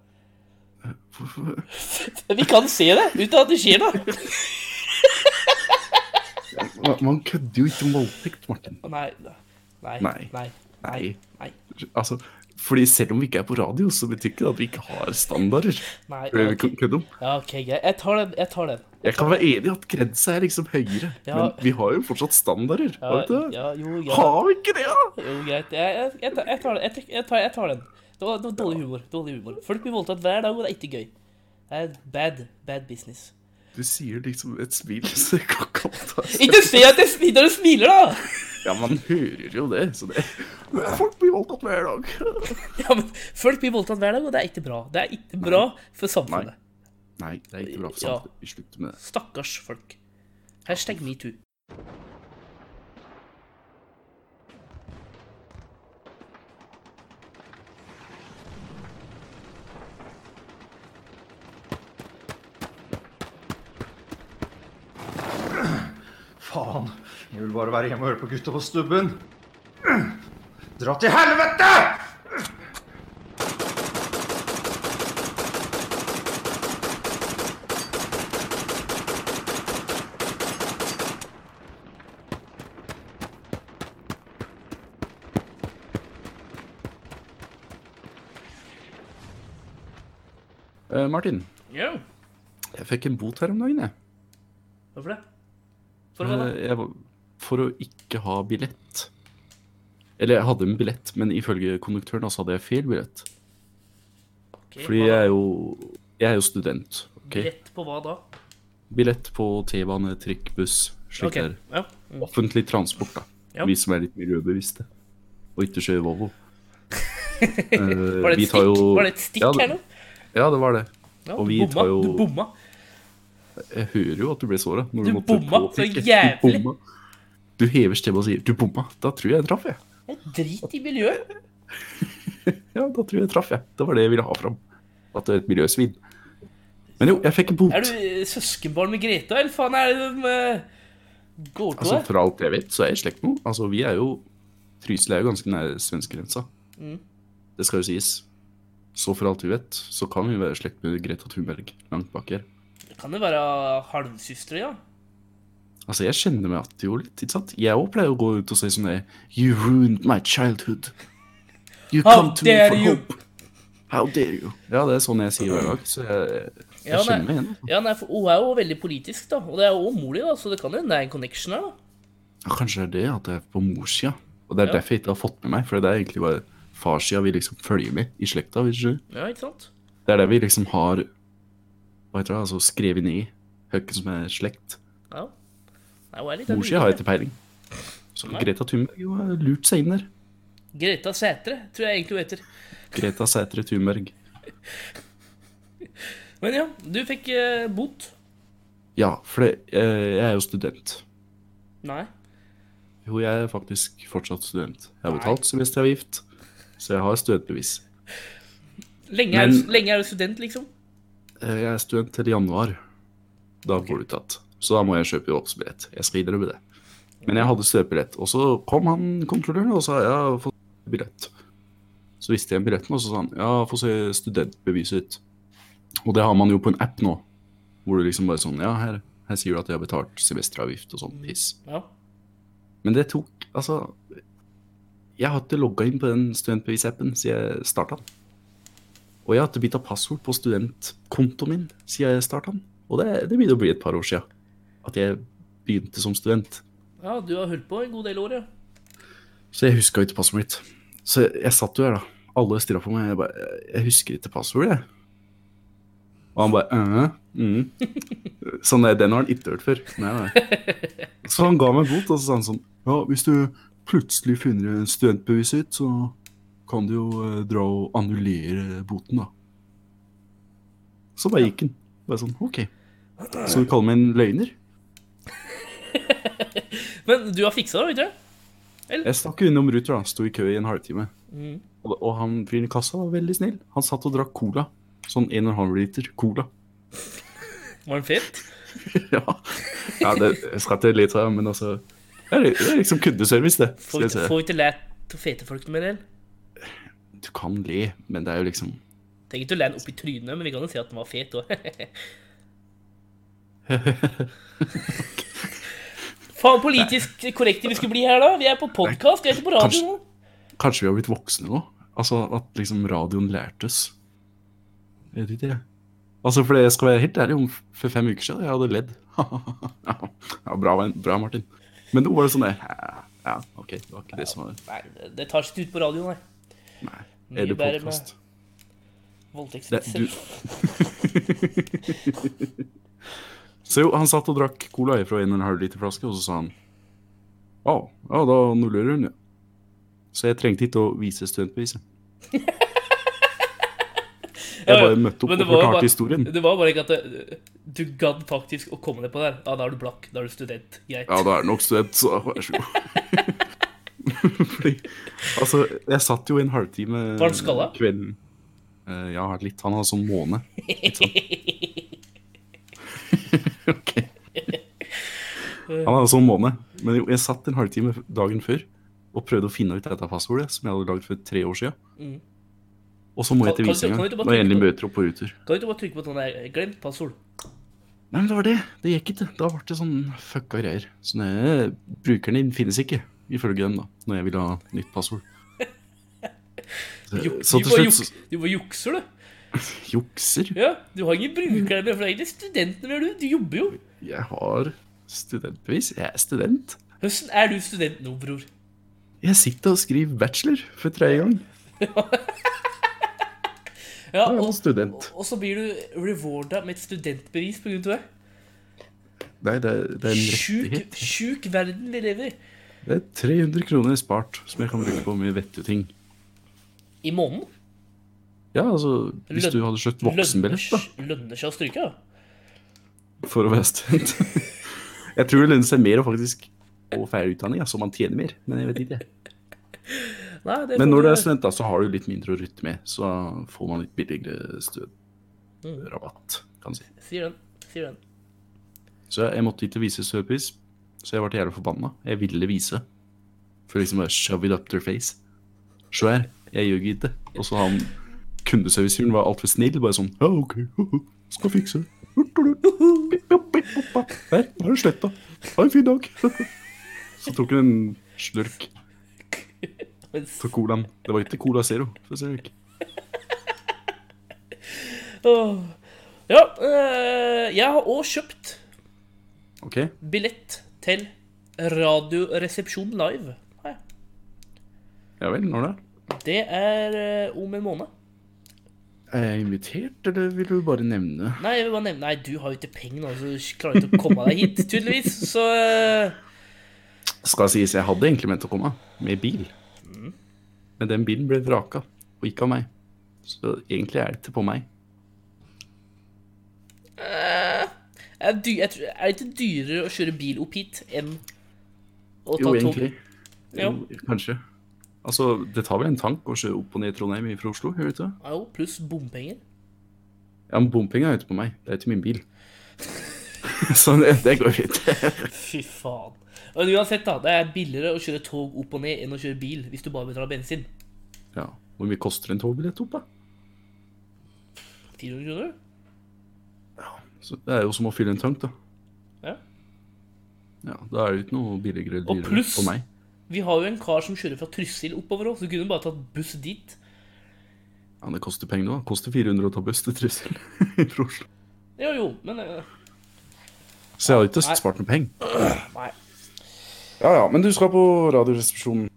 Speaker 2: Hvorfor-
Speaker 4: Vi kan se det uten at det skjer noe.
Speaker 2: Man- Man kødder jo ikke om voldtekt, Martin.
Speaker 4: Å, Nei, nei, nei,
Speaker 2: Nei.
Speaker 4: nei,
Speaker 2: Nei.
Speaker 4: nei.
Speaker 2: Altså, fordi selv om vi ikke er på radio, så betyr ikke det at vi ikke har standarder.
Speaker 4: nei.
Speaker 2: Det er vi kan kødde om.
Speaker 4: Ja, ok, greit. Jeg tar den. Jeg tar den.
Speaker 2: Jeg kan være enig i at grensa er liksom høyere,
Speaker 4: Ja.
Speaker 2: men vi har jo fortsatt standarder.
Speaker 4: Ja,
Speaker 2: har vi ikke det?
Speaker 4: ja, jo, ja,
Speaker 2: Har vi ikke det, da?
Speaker 4: jo, greit. Jeg, jeg, jeg, tar, jeg tar den. Jeg, tek- jeg, tar, jeg tar den. Det var, det var dårlig humor. dårlig humor. Folk blir voldtatt hver dag, og det er ikke gøy. Det er bad, bad business.
Speaker 2: Du sier liksom et smil, så jeg kan ikke ta
Speaker 4: Ikke se at jeg smiler når du smiler, da!
Speaker 2: Ja, man hører jo det, så det Folk blir voldtatt hver dag.
Speaker 4: Ja, men Folk blir voldtatt hver dag, og det er ikke bra. Det er ikke bra for samfunnet.
Speaker 2: Nei, det er ikke bra for
Speaker 4: Ja.
Speaker 2: samfunnet. Vi slutter med det.
Speaker 4: Stakkars folk. Hashtag metoo.
Speaker 5: Faen. Jeg vil bare være hjemme og høre på gutta på stubben. Dra til helvete!
Speaker 2: Eh, Martin,
Speaker 4: Ja,
Speaker 2: jeg fikk en bot her om dagen, jeg.
Speaker 4: hvorfor det? For hva da?
Speaker 2: Eh, jeg var- for å ikke ha billett. Eller jeg hadde en billett, men ifølge konduktøren da, så hadde jeg feil billett.
Speaker 4: Ok,
Speaker 2: Fordi
Speaker 4: hva da?
Speaker 2: jeg er jo, jeg er jo student. ok?
Speaker 4: Rett på hva da?
Speaker 2: Billett på T-bane, trikk, buss, slik
Speaker 4: Ok,
Speaker 2: der.
Speaker 4: ja.
Speaker 2: Offentlig transport, da.
Speaker 4: Ja.
Speaker 2: Vi som er litt miljøbevisste. Og ikke kjører Volvo. Eh,
Speaker 4: Var det et stikk, var det et stikk
Speaker 2: ja, det-
Speaker 4: her nå?
Speaker 2: Ja, det var det.
Speaker 4: Ja,
Speaker 2: og
Speaker 4: du
Speaker 2: vi
Speaker 4: bomma.
Speaker 2: tar jo-
Speaker 4: Du bomma.
Speaker 2: Jeg hører jo at du ble såra. Du,
Speaker 4: Du
Speaker 2: måtte
Speaker 4: bomma så
Speaker 2: påpeke.
Speaker 4: jævlig.
Speaker 2: Du, bomma. du hever stemmen og sier 'du bomma'. Da tror jeg jeg traff, jeg.
Speaker 4: Drit i miljøet.
Speaker 2: Ja, da tror jeg jeg traff, jeg. Det var det jeg ville ha fram. At du er et miljøsvin. Men jo, jeg fikk en bot.
Speaker 4: Er du eh, søskenbarn med Greta, eller faen er det de eh, går til
Speaker 2: Altså,
Speaker 4: deg?
Speaker 2: For alt jeg vet, så er jeg i slekt med henne. Altså,
Speaker 4: Mm.
Speaker 2: vi er jo Trysil er jo ganske nær svenskegrensa. Det skal jo sies. Så for alt vi vet, så kan vi være i slekt med Greta Thunberg langt bak her.
Speaker 4: Kan det være halvsøstre, ja?
Speaker 2: Altså, jeg kjenner meg igjen jo litt, ikke sant? Jeg òg pleier å gå ut og si sånn der You ruined my childhood. You come
Speaker 4: How
Speaker 2: to me
Speaker 4: dare
Speaker 2: for
Speaker 4: you!»
Speaker 2: hope. How dare you? Ja, det er sånn jeg sier hver dag, så jeg, jeg
Speaker 4: Ja,
Speaker 2: kjenner
Speaker 4: nei.
Speaker 2: meg igjen. altså.
Speaker 4: Ja, nei, for Hun er jo veldig politisk, da. Og det er jo også mor di, da, så det kan hende det er en connection her. da.
Speaker 2: Ja, kanskje det er det at det er på morssida. Og det er
Speaker 4: Ja.
Speaker 2: derfor jeg ikke har fått med meg, for det er egentlig bare farssida vi liksom følger med i slekta. hvis du skjønner.
Speaker 4: Ja, ikke sant?
Speaker 2: Det er det vi liksom har hva heter det, altså skrevet ned i. Høkke som er slekt.
Speaker 4: Ja. Nei, hun er litt
Speaker 2: Morssida har jeg ikke peiling. Så
Speaker 4: Nei.
Speaker 2: Greta Thunberg jo har lurt seg inn der.
Speaker 4: Greta Sætre, tror jeg egentlig hun heter.
Speaker 2: Greta Sætre Thunberg.
Speaker 4: Men ja, du fikk eh, bot.
Speaker 2: Ja, for det, eh, jeg er jo student.
Speaker 4: Nei.
Speaker 2: Jo, jeg er faktisk fortsatt student. Jeg har
Speaker 4: Nei.
Speaker 2: betalt semesteravgift, så jeg har studentbevis.
Speaker 4: Lenge er,
Speaker 2: Men-
Speaker 4: du, lenge er du student, liksom?
Speaker 2: Eh, Jeg er student til januar. Da får du tatt. Så da må jeg kjøpe jobbsbillett. Jeg skal innrømme det. Men jeg hadde studentbillett, og så kom han kontrolløren og sa ja, få se billett. Så viste jeg billetten, og så sa han ja, få se studentbeviset ditt. Og det har man jo på en app nå, hvor du liksom bare sånn ja, her, her sier du at jeg har betalt semesteravgift og sånn piss.
Speaker 4: Ja.
Speaker 2: Men det tok Altså, jeg har ikke logga inn på den studentbevisappen siden jeg starta den. Og jeg har ikke bytta passord på studentkontoen min siden jeg starta den. Og det, det begynner å bli et par år sia at jeg begynte som student.
Speaker 4: ja, du har holdt på en god del år, ja.
Speaker 2: Så jeg huska ikke passordet mitt. Så jeg, jeg satt jo her, da. Alle stirra på meg. Jeg bare Jeg husker ikke passordet, jeg. Og han bare «Øh, mm. Sånn der, den har han ikke hørt før. Nei, nei. Så han ga meg bot, og så sa han sånn Ja, hvis du plutselig finner studentbeviset ditt, så kan du jo eh, dra og annullere boten, da. Så bare gikk han. Bare sånn OK. Så du kaller meg en løgner?
Speaker 4: Men du har fiksa det, vet du?
Speaker 2: Jeg stakk jo innom Ruter, da. Sto i kø i en halvtime. Og, og han fyren i kassa var veldig snill. Han satt og drakk cola. Sånn 1,5 liter cola.
Speaker 4: Var den fet?
Speaker 2: ja. ja, det jeg skal til litt her, men altså Det er, det er liksom kundeservice, det. Skal
Speaker 4: Får
Speaker 2: jeg si.
Speaker 4: får ikke lært å fete folk noe mer, eller?
Speaker 2: Du kan le, men det er jo liksom
Speaker 4: Trenger ikke å lære den opp i trynet, men vi kan jo si at den var fet òg. Faen politisk korrekte vi skulle bli her, da. Vi er på podkast, vi er ikke på radio nå.
Speaker 2: Kanskje vi har blitt voksne nå? Altså at liksom radioen lærtes. Jeg vet ikke, jeg. Altså, for jeg skal være helt ærlig, om f- for fem uker siden jeg hadde ledd. ja, bra, venn. bra, Martin. Men nå var det sånn der «Hæ? Ja, OK, det var ikke det som var
Speaker 4: Nei, det- det tar seg ikke ut på radioen, nei.
Speaker 2: Nei.
Speaker 4: Mye
Speaker 2: Er det
Speaker 4: bedre med-
Speaker 2: podkast? Det-
Speaker 4: Voldtektsvitser.
Speaker 2: du- Så jo, han satt og drakk cola fra en og en halv liter flaske, og så sa han Å, ja, da nullerer hun, ja. Så jeg trengte ikke å vise studentbeviset. Jeg bare møtte opp
Speaker 4: Men
Speaker 2: og
Speaker 4: det var jo
Speaker 2: forklarte
Speaker 4: bare-
Speaker 2: historien.
Speaker 4: Det var bare ikke at det, du gadd faktisk å komme deg på der. Ja, da er du blakk, da er du student. Greit.
Speaker 2: Ja, da er det nok student, så vær så god. Fordi, altså, jeg satt jo i en halvtime
Speaker 4: Var han skalla?
Speaker 2: kvelden. Eh, ja, litt. Han har sånn måne. Litt sånn. ok. Han hadde sånn måne. Men jo, jeg satt en halvtime dagen før og prøvde å finne ut dette passordet, som jeg hadde lagd for tre år siden. Og så må jeg
Speaker 4: Mm. Kan-
Speaker 2: til
Speaker 4: kan
Speaker 2: vise
Speaker 4: du-
Speaker 2: en
Speaker 4: kan du
Speaker 2: gang,
Speaker 4: ikke bare
Speaker 2: når jeg endelig
Speaker 4: trykke
Speaker 2: møter opp på Ruter.
Speaker 4: Kan du ikke bare trykke på sånn der glemt passord?
Speaker 2: Eh, Nei, men det var det. Det gikk ikke. Da ble det sånn fucka greier. Sånne eh, brukeren din finnes ikke, ifølge dem, da, når jeg ville ha nytt passord. Så,
Speaker 4: Jo,
Speaker 2: så
Speaker 4: du
Speaker 2: til
Speaker 4: bare
Speaker 2: slutt
Speaker 4: juk- Du bare jukser, du.
Speaker 2: så- jukser.
Speaker 4: Ja, du har ingen brukere med, for det er egentlig studentene vi har, du. Du jobber jo.
Speaker 2: Jeg har studentbevis. Jeg er student.
Speaker 4: Høsten er du student nå, bror.
Speaker 2: Jeg sitter og skriver bachelor for tredje gang.
Speaker 4: Ja,
Speaker 2: Da er
Speaker 4: og,
Speaker 2: jeg student.
Speaker 4: og så blir du rewarda med et studentbevis på grunn av det.
Speaker 2: Nei, det er, det er en
Speaker 4: Sjuk,
Speaker 2: rettighet.
Speaker 4: sjuk verden vi lever i.
Speaker 2: Det er 300 kroner spart som jeg kan bruke på mye vettige ting.
Speaker 4: I måneden.
Speaker 2: Ja, altså, hvis
Speaker 4: Lønn-
Speaker 2: du hadde kjøpt
Speaker 4: Lønner,
Speaker 2: voksenbillett, da.
Speaker 4: lønner seg å stryke, da.
Speaker 2: for å være student. jeg tror det lønner seg mer å faktisk få feil utdanning, altså man tjener mer, men jeg vet ikke.
Speaker 4: Nei, det
Speaker 2: Men
Speaker 4: får
Speaker 2: når du
Speaker 4: vi-
Speaker 2: er student, da, så har du litt mindre å rutte med, så får man litt billigere studentrabatt, kan jeg si.
Speaker 4: Sier den. Sier den.
Speaker 2: Så jeg måtte ikke vise surprise, så jeg ble jævlig forbanna. Jeg ville vise. For liksom bare shove it up their face. Se her, jeg ljuger ikke. Og så han kundeserviceren var altfor snill. Bare sånn Ja, OK, skal fikse det. Her, nå er det sletta. Ha en fin dag. Så tok hun en slurk
Speaker 4: Mens-
Speaker 2: av colaen. Det var ikke Cola Zero. for å si det.
Speaker 4: Åh. Ja, eh, jeg har òg kjøpt
Speaker 2: OK?
Speaker 4: billett til Radioresepsjon live. Har jeg.
Speaker 2: Ja vel, når da?
Speaker 4: Det er eh, om en måned.
Speaker 2: Er jeg invitert, eller vil du bare nevne
Speaker 4: Nei, jeg vil bare nevne Nei, du har jo ikke penger nå, så du klarer ikke å komme deg hit, tydeligvis. Så eh,
Speaker 2: Skal sies, jeg hadde egentlig ment å komme med bil. Men den bilen ble vraka, og ikke av meg. Så egentlig er det ikke på meg.
Speaker 4: er, dy, jeg tror, er det ikke dyrere å kjøre bil opp hit enn å ta
Speaker 2: Jo,
Speaker 4: tog?
Speaker 2: egentlig.
Speaker 4: Ja.
Speaker 2: Jo, kanskje. Altså, det tar vel en tank å kjøre opp og ned i Trondheim fra Oslo? Gjør det ikke? det?
Speaker 4: Ja, jo, pluss bompenger.
Speaker 2: Ja, men bompenga er ute på meg. Det er ikke min bil. Så det, det går fint.
Speaker 4: Fy faen. Men uansett, da. Det er billigere å kjøre tog opp og ned enn å kjøre bil hvis du bare betaler bensin.
Speaker 2: Ja. Hvor mye koster en togbillett opp, da?
Speaker 4: 400 kroner?
Speaker 2: Så det er jo som å fylle en tank, da.
Speaker 4: Ja.
Speaker 2: Ja, Da er det jo ikke noe billigere
Speaker 4: Og
Speaker 2: dyrere
Speaker 4: pluss-
Speaker 2: på meg.
Speaker 4: Vi har jo en kar som kjører fra Trysil oppover òg, så kunne du bare tatt buss dit.
Speaker 2: Ja, Det koster penger nå. Det koster 400 å ta buss til Trysil fra Oslo.
Speaker 4: Jo, jo, men eh,
Speaker 2: Så jeg har ikke
Speaker 4: Nei.
Speaker 2: spart noe penger.
Speaker 4: Nei.
Speaker 2: Ja, ja, men du skal på Radioresepsjonen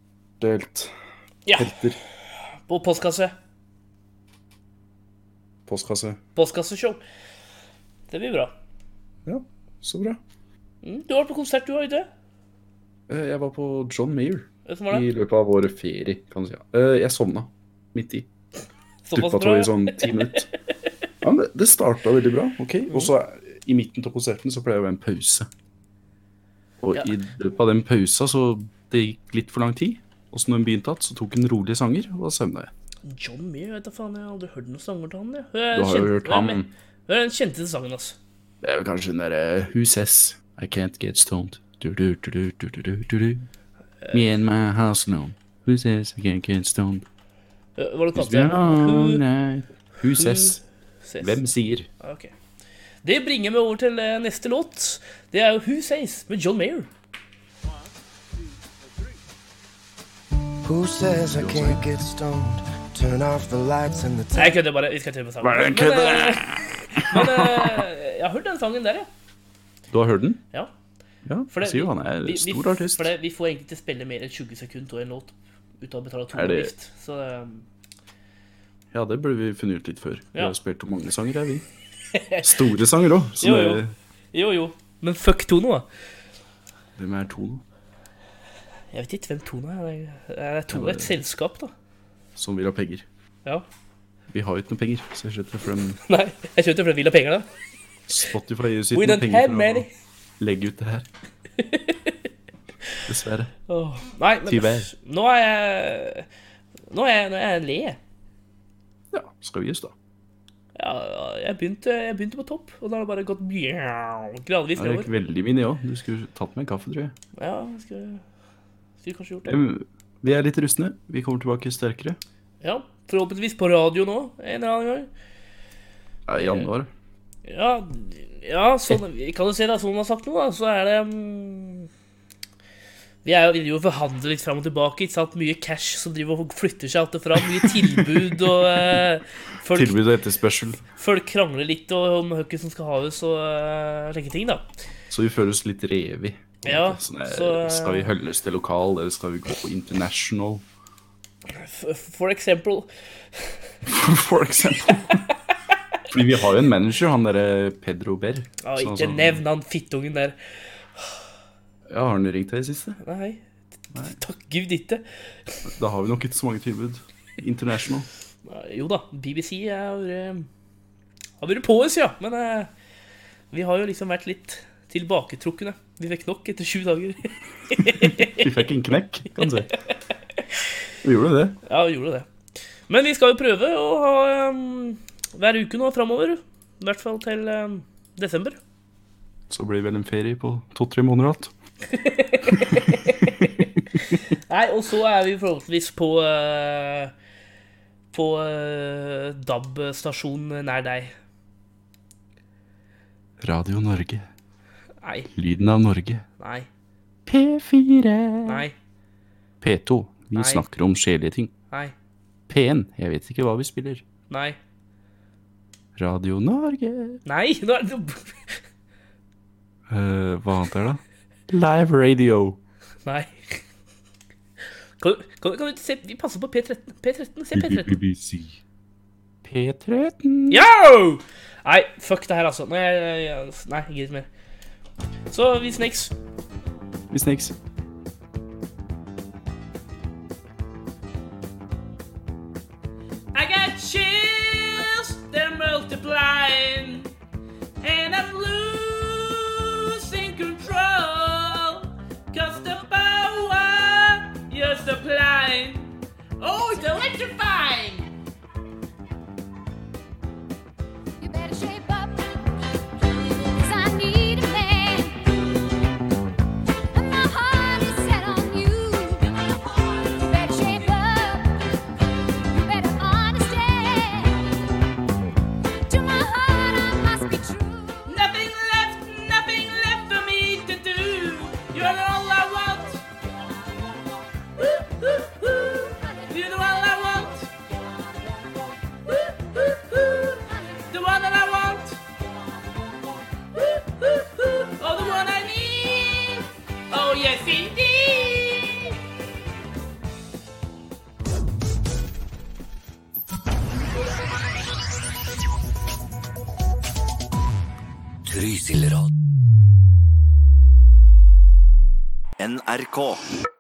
Speaker 2: delt
Speaker 4: Ja,
Speaker 2: helter
Speaker 4: på postkasse.
Speaker 2: postkasse.
Speaker 4: Postkasseshow. Det blir bra.
Speaker 2: Ja, så bra.
Speaker 4: Mm, du har vært på konsert, du òg, ikke sant?
Speaker 2: Eh, Jeg var på John Mayer
Speaker 4: Hvordan var det?
Speaker 2: i løpet av vår ferie, kan du si. Eh, Jeg sovna midt i.
Speaker 4: Såpass
Speaker 2: Duppa tå
Speaker 4: bra.
Speaker 2: i sånn ti minutter. Ja, men det- det starta veldig bra, OK?
Speaker 4: Mm.
Speaker 2: Og så eh, i midten av konserten så pleier det å være en pause. Og
Speaker 4: Ja.
Speaker 2: i løpet av den pausa så Det gikk litt for lang tid. Og så når den begynte igjen, så tok den rolige sanger, og da søvna jeg.
Speaker 4: John Mayer, vet da faen. Jeg har aldri hørt noen sanger til han. Jeg. Jeg
Speaker 2: Du har jo
Speaker 4: kjente-
Speaker 2: hørt ham.
Speaker 4: jeg- Det er den kjente sangen, altså.
Speaker 2: Det er vel kanskje den derre eh, Who says I can't get stoned? Du, du, du, du, du, du, du, du, du. Me and my house alone. Who says I can't get stoned?
Speaker 4: Eh, Var det
Speaker 2: It's
Speaker 4: kalt
Speaker 2: been
Speaker 4: det?
Speaker 2: all
Speaker 4: Who
Speaker 2: night. Who says?
Speaker 4: says?
Speaker 2: Hvem sier?
Speaker 4: Ja, ok. Det bringer meg over til eh, neste låt. Det er jo Who Says med John Mayer.
Speaker 6: Who says I can't get stoned? Turn off the lights and the
Speaker 4: Nei, jeg kødder bare. Vi skal ikke høre på sangen.
Speaker 2: Bare
Speaker 4: Men,
Speaker 2: kødder.
Speaker 4: eh, Men eh, jeg har hørt den sangen der, jeg.
Speaker 2: Du har hørt den?
Speaker 4: Ja.
Speaker 2: Ja,
Speaker 4: For det-
Speaker 2: sier jo han er
Speaker 4: vi- vi-
Speaker 2: stor artist.
Speaker 4: For det, vi får egentlig ikke spille mer enn 20 sekunder av en låt uten å betale
Speaker 2: Er det-
Speaker 4: toneavgift. Så um,
Speaker 2: Ja, det burde vi funnet ut litt før. Vi
Speaker 4: Ja.
Speaker 2: har spilt om mange sanger, er vi. Store sanger òg, så
Speaker 4: Jo,
Speaker 2: det,
Speaker 4: jo. Jo, jo. Men fuck Tono, da.
Speaker 2: hvem er to nå?
Speaker 4: Jeg vet ikke hvem Tono er. Det er- Det er Tono
Speaker 2: Ja,
Speaker 4: et selskap, da.
Speaker 2: Som vil ha penger.
Speaker 4: Ja.
Speaker 2: Vi har jo ikke noe penger, så jeg skjønner for dem
Speaker 4: Nei, jeg kjøpte fordi jeg vil ha penger, da.
Speaker 2: Spotify gir
Speaker 4: We
Speaker 2: sitt
Speaker 4: don't
Speaker 2: penger
Speaker 4: have
Speaker 2: for
Speaker 4: many.
Speaker 2: å legge ut det her. Dessverre.
Speaker 4: Åh, Nei, men
Speaker 2: Tyvärr.
Speaker 4: nå er jeg Nå er jeg, nå er jeg le.
Speaker 2: Ja, skal vi gi oss, da?
Speaker 4: Ja, jeg begynte, jeg begynte på topp, og da har det bare gått bjau, gradvis
Speaker 2: Jeg røyk
Speaker 4: nedover.
Speaker 2: veldig mye, jeg òg. Du skulle tatt med en kaffe, tror jeg.
Speaker 4: Ja, skulle skulle kanskje gjort det.
Speaker 2: Em, Vi er litt rustne. Vi kommer tilbake sterkere.
Speaker 4: Ja, forhåpentligvis på radio nå en eller annen gang.
Speaker 2: Ja, I januar.
Speaker 4: Ja, ja sånn, kan du se det, sånn han har sagt noe, da, så er det mm, vi er jo, vi driver jo og forhandler litt fram og tilbake. ikke sant? Mye cash som driver og flytter seg alt og fram. Mye tilbud og eh, folk,
Speaker 2: Tilbud og etterspørsel.
Speaker 4: folk krangler litt og, om hvem som skal ha hus og eh, slike ting, da.
Speaker 2: Så vi føler oss litt revi.
Speaker 4: Ja,
Speaker 2: sånn, eh,
Speaker 4: så, eh,
Speaker 2: Skal vi holde oss til lokal, eller skal vi gå på international,
Speaker 4: F for eksempel
Speaker 2: for eksempel? Fordi vi har jo en manager, han derre Pedro Sånn Berr.
Speaker 4: ja,
Speaker 2: Så-
Speaker 4: Ikke
Speaker 2: så-
Speaker 4: nevn han fittungen der.
Speaker 2: Ja, Har han ringt deg i det siste?
Speaker 4: Nei. Takk gud ikke.
Speaker 2: Da har vi nok ikke så mange tilbud. International.
Speaker 4: Eh, Jo da, BBC er, eh, har vært på oss, ja. Men eh, vi har jo liksom vært litt tilbaketrukne. Vi fikk nok etter sju dager.
Speaker 2: Vi fikk en knekk, kan du si. Vi gjorde det.
Speaker 4: ja, vi gjorde det. Men vi skal jo prøve å ha eh, hver uke nå framover. I hvert fall til eh, desember.
Speaker 2: Så blir det vel en ferie på to-tre måneder igjen.
Speaker 4: Nei, og så er vi forhåpentligvis på eh, på eh, DAB-stasjon nær deg.
Speaker 2: Radio Norge.
Speaker 4: Nei.
Speaker 2: Lyden av Norge.
Speaker 4: Nei.
Speaker 2: P4.
Speaker 4: Nei.
Speaker 2: P2. Vi
Speaker 4: Nei.
Speaker 2: snakker om sjelige ting.
Speaker 4: Nei.
Speaker 2: P1. Jeg vet ikke hva vi spiller.
Speaker 4: Nei.
Speaker 2: Radio Norge.
Speaker 4: Nei. Nå er det
Speaker 2: Eh, hva annet er det? Live radio.
Speaker 4: Nei. Kan, du- kan, du- kan du se Vi passer på P13. P13, Se P13.
Speaker 2: BBC. P13.
Speaker 4: Yo! Nei, fuck det her, altså. Nei, jeg- jeg- nei jeg gidder ikke mer. Så vi snakes.
Speaker 2: Vi snakkes.
Speaker 4: I got chills, they're multiplying, and I'm losing control. Cause the power you're supplying, oh, it's electrifying.
Speaker 7: You better shape up, 'cause I need a man. And my heart is set on you. You better shape up. You better understand. To my heart, I must be true.
Speaker 4: Nothing left, nothing left for me to do. You're all I want. Ooh, ooh, ooh. You're the one I want. Ooh, ooh, ooh. The one that I want. Ooh, ooh, ooh. Oh, the one I need. Oh, yes, indeed.
Speaker 8: Trysil Rad. NRK.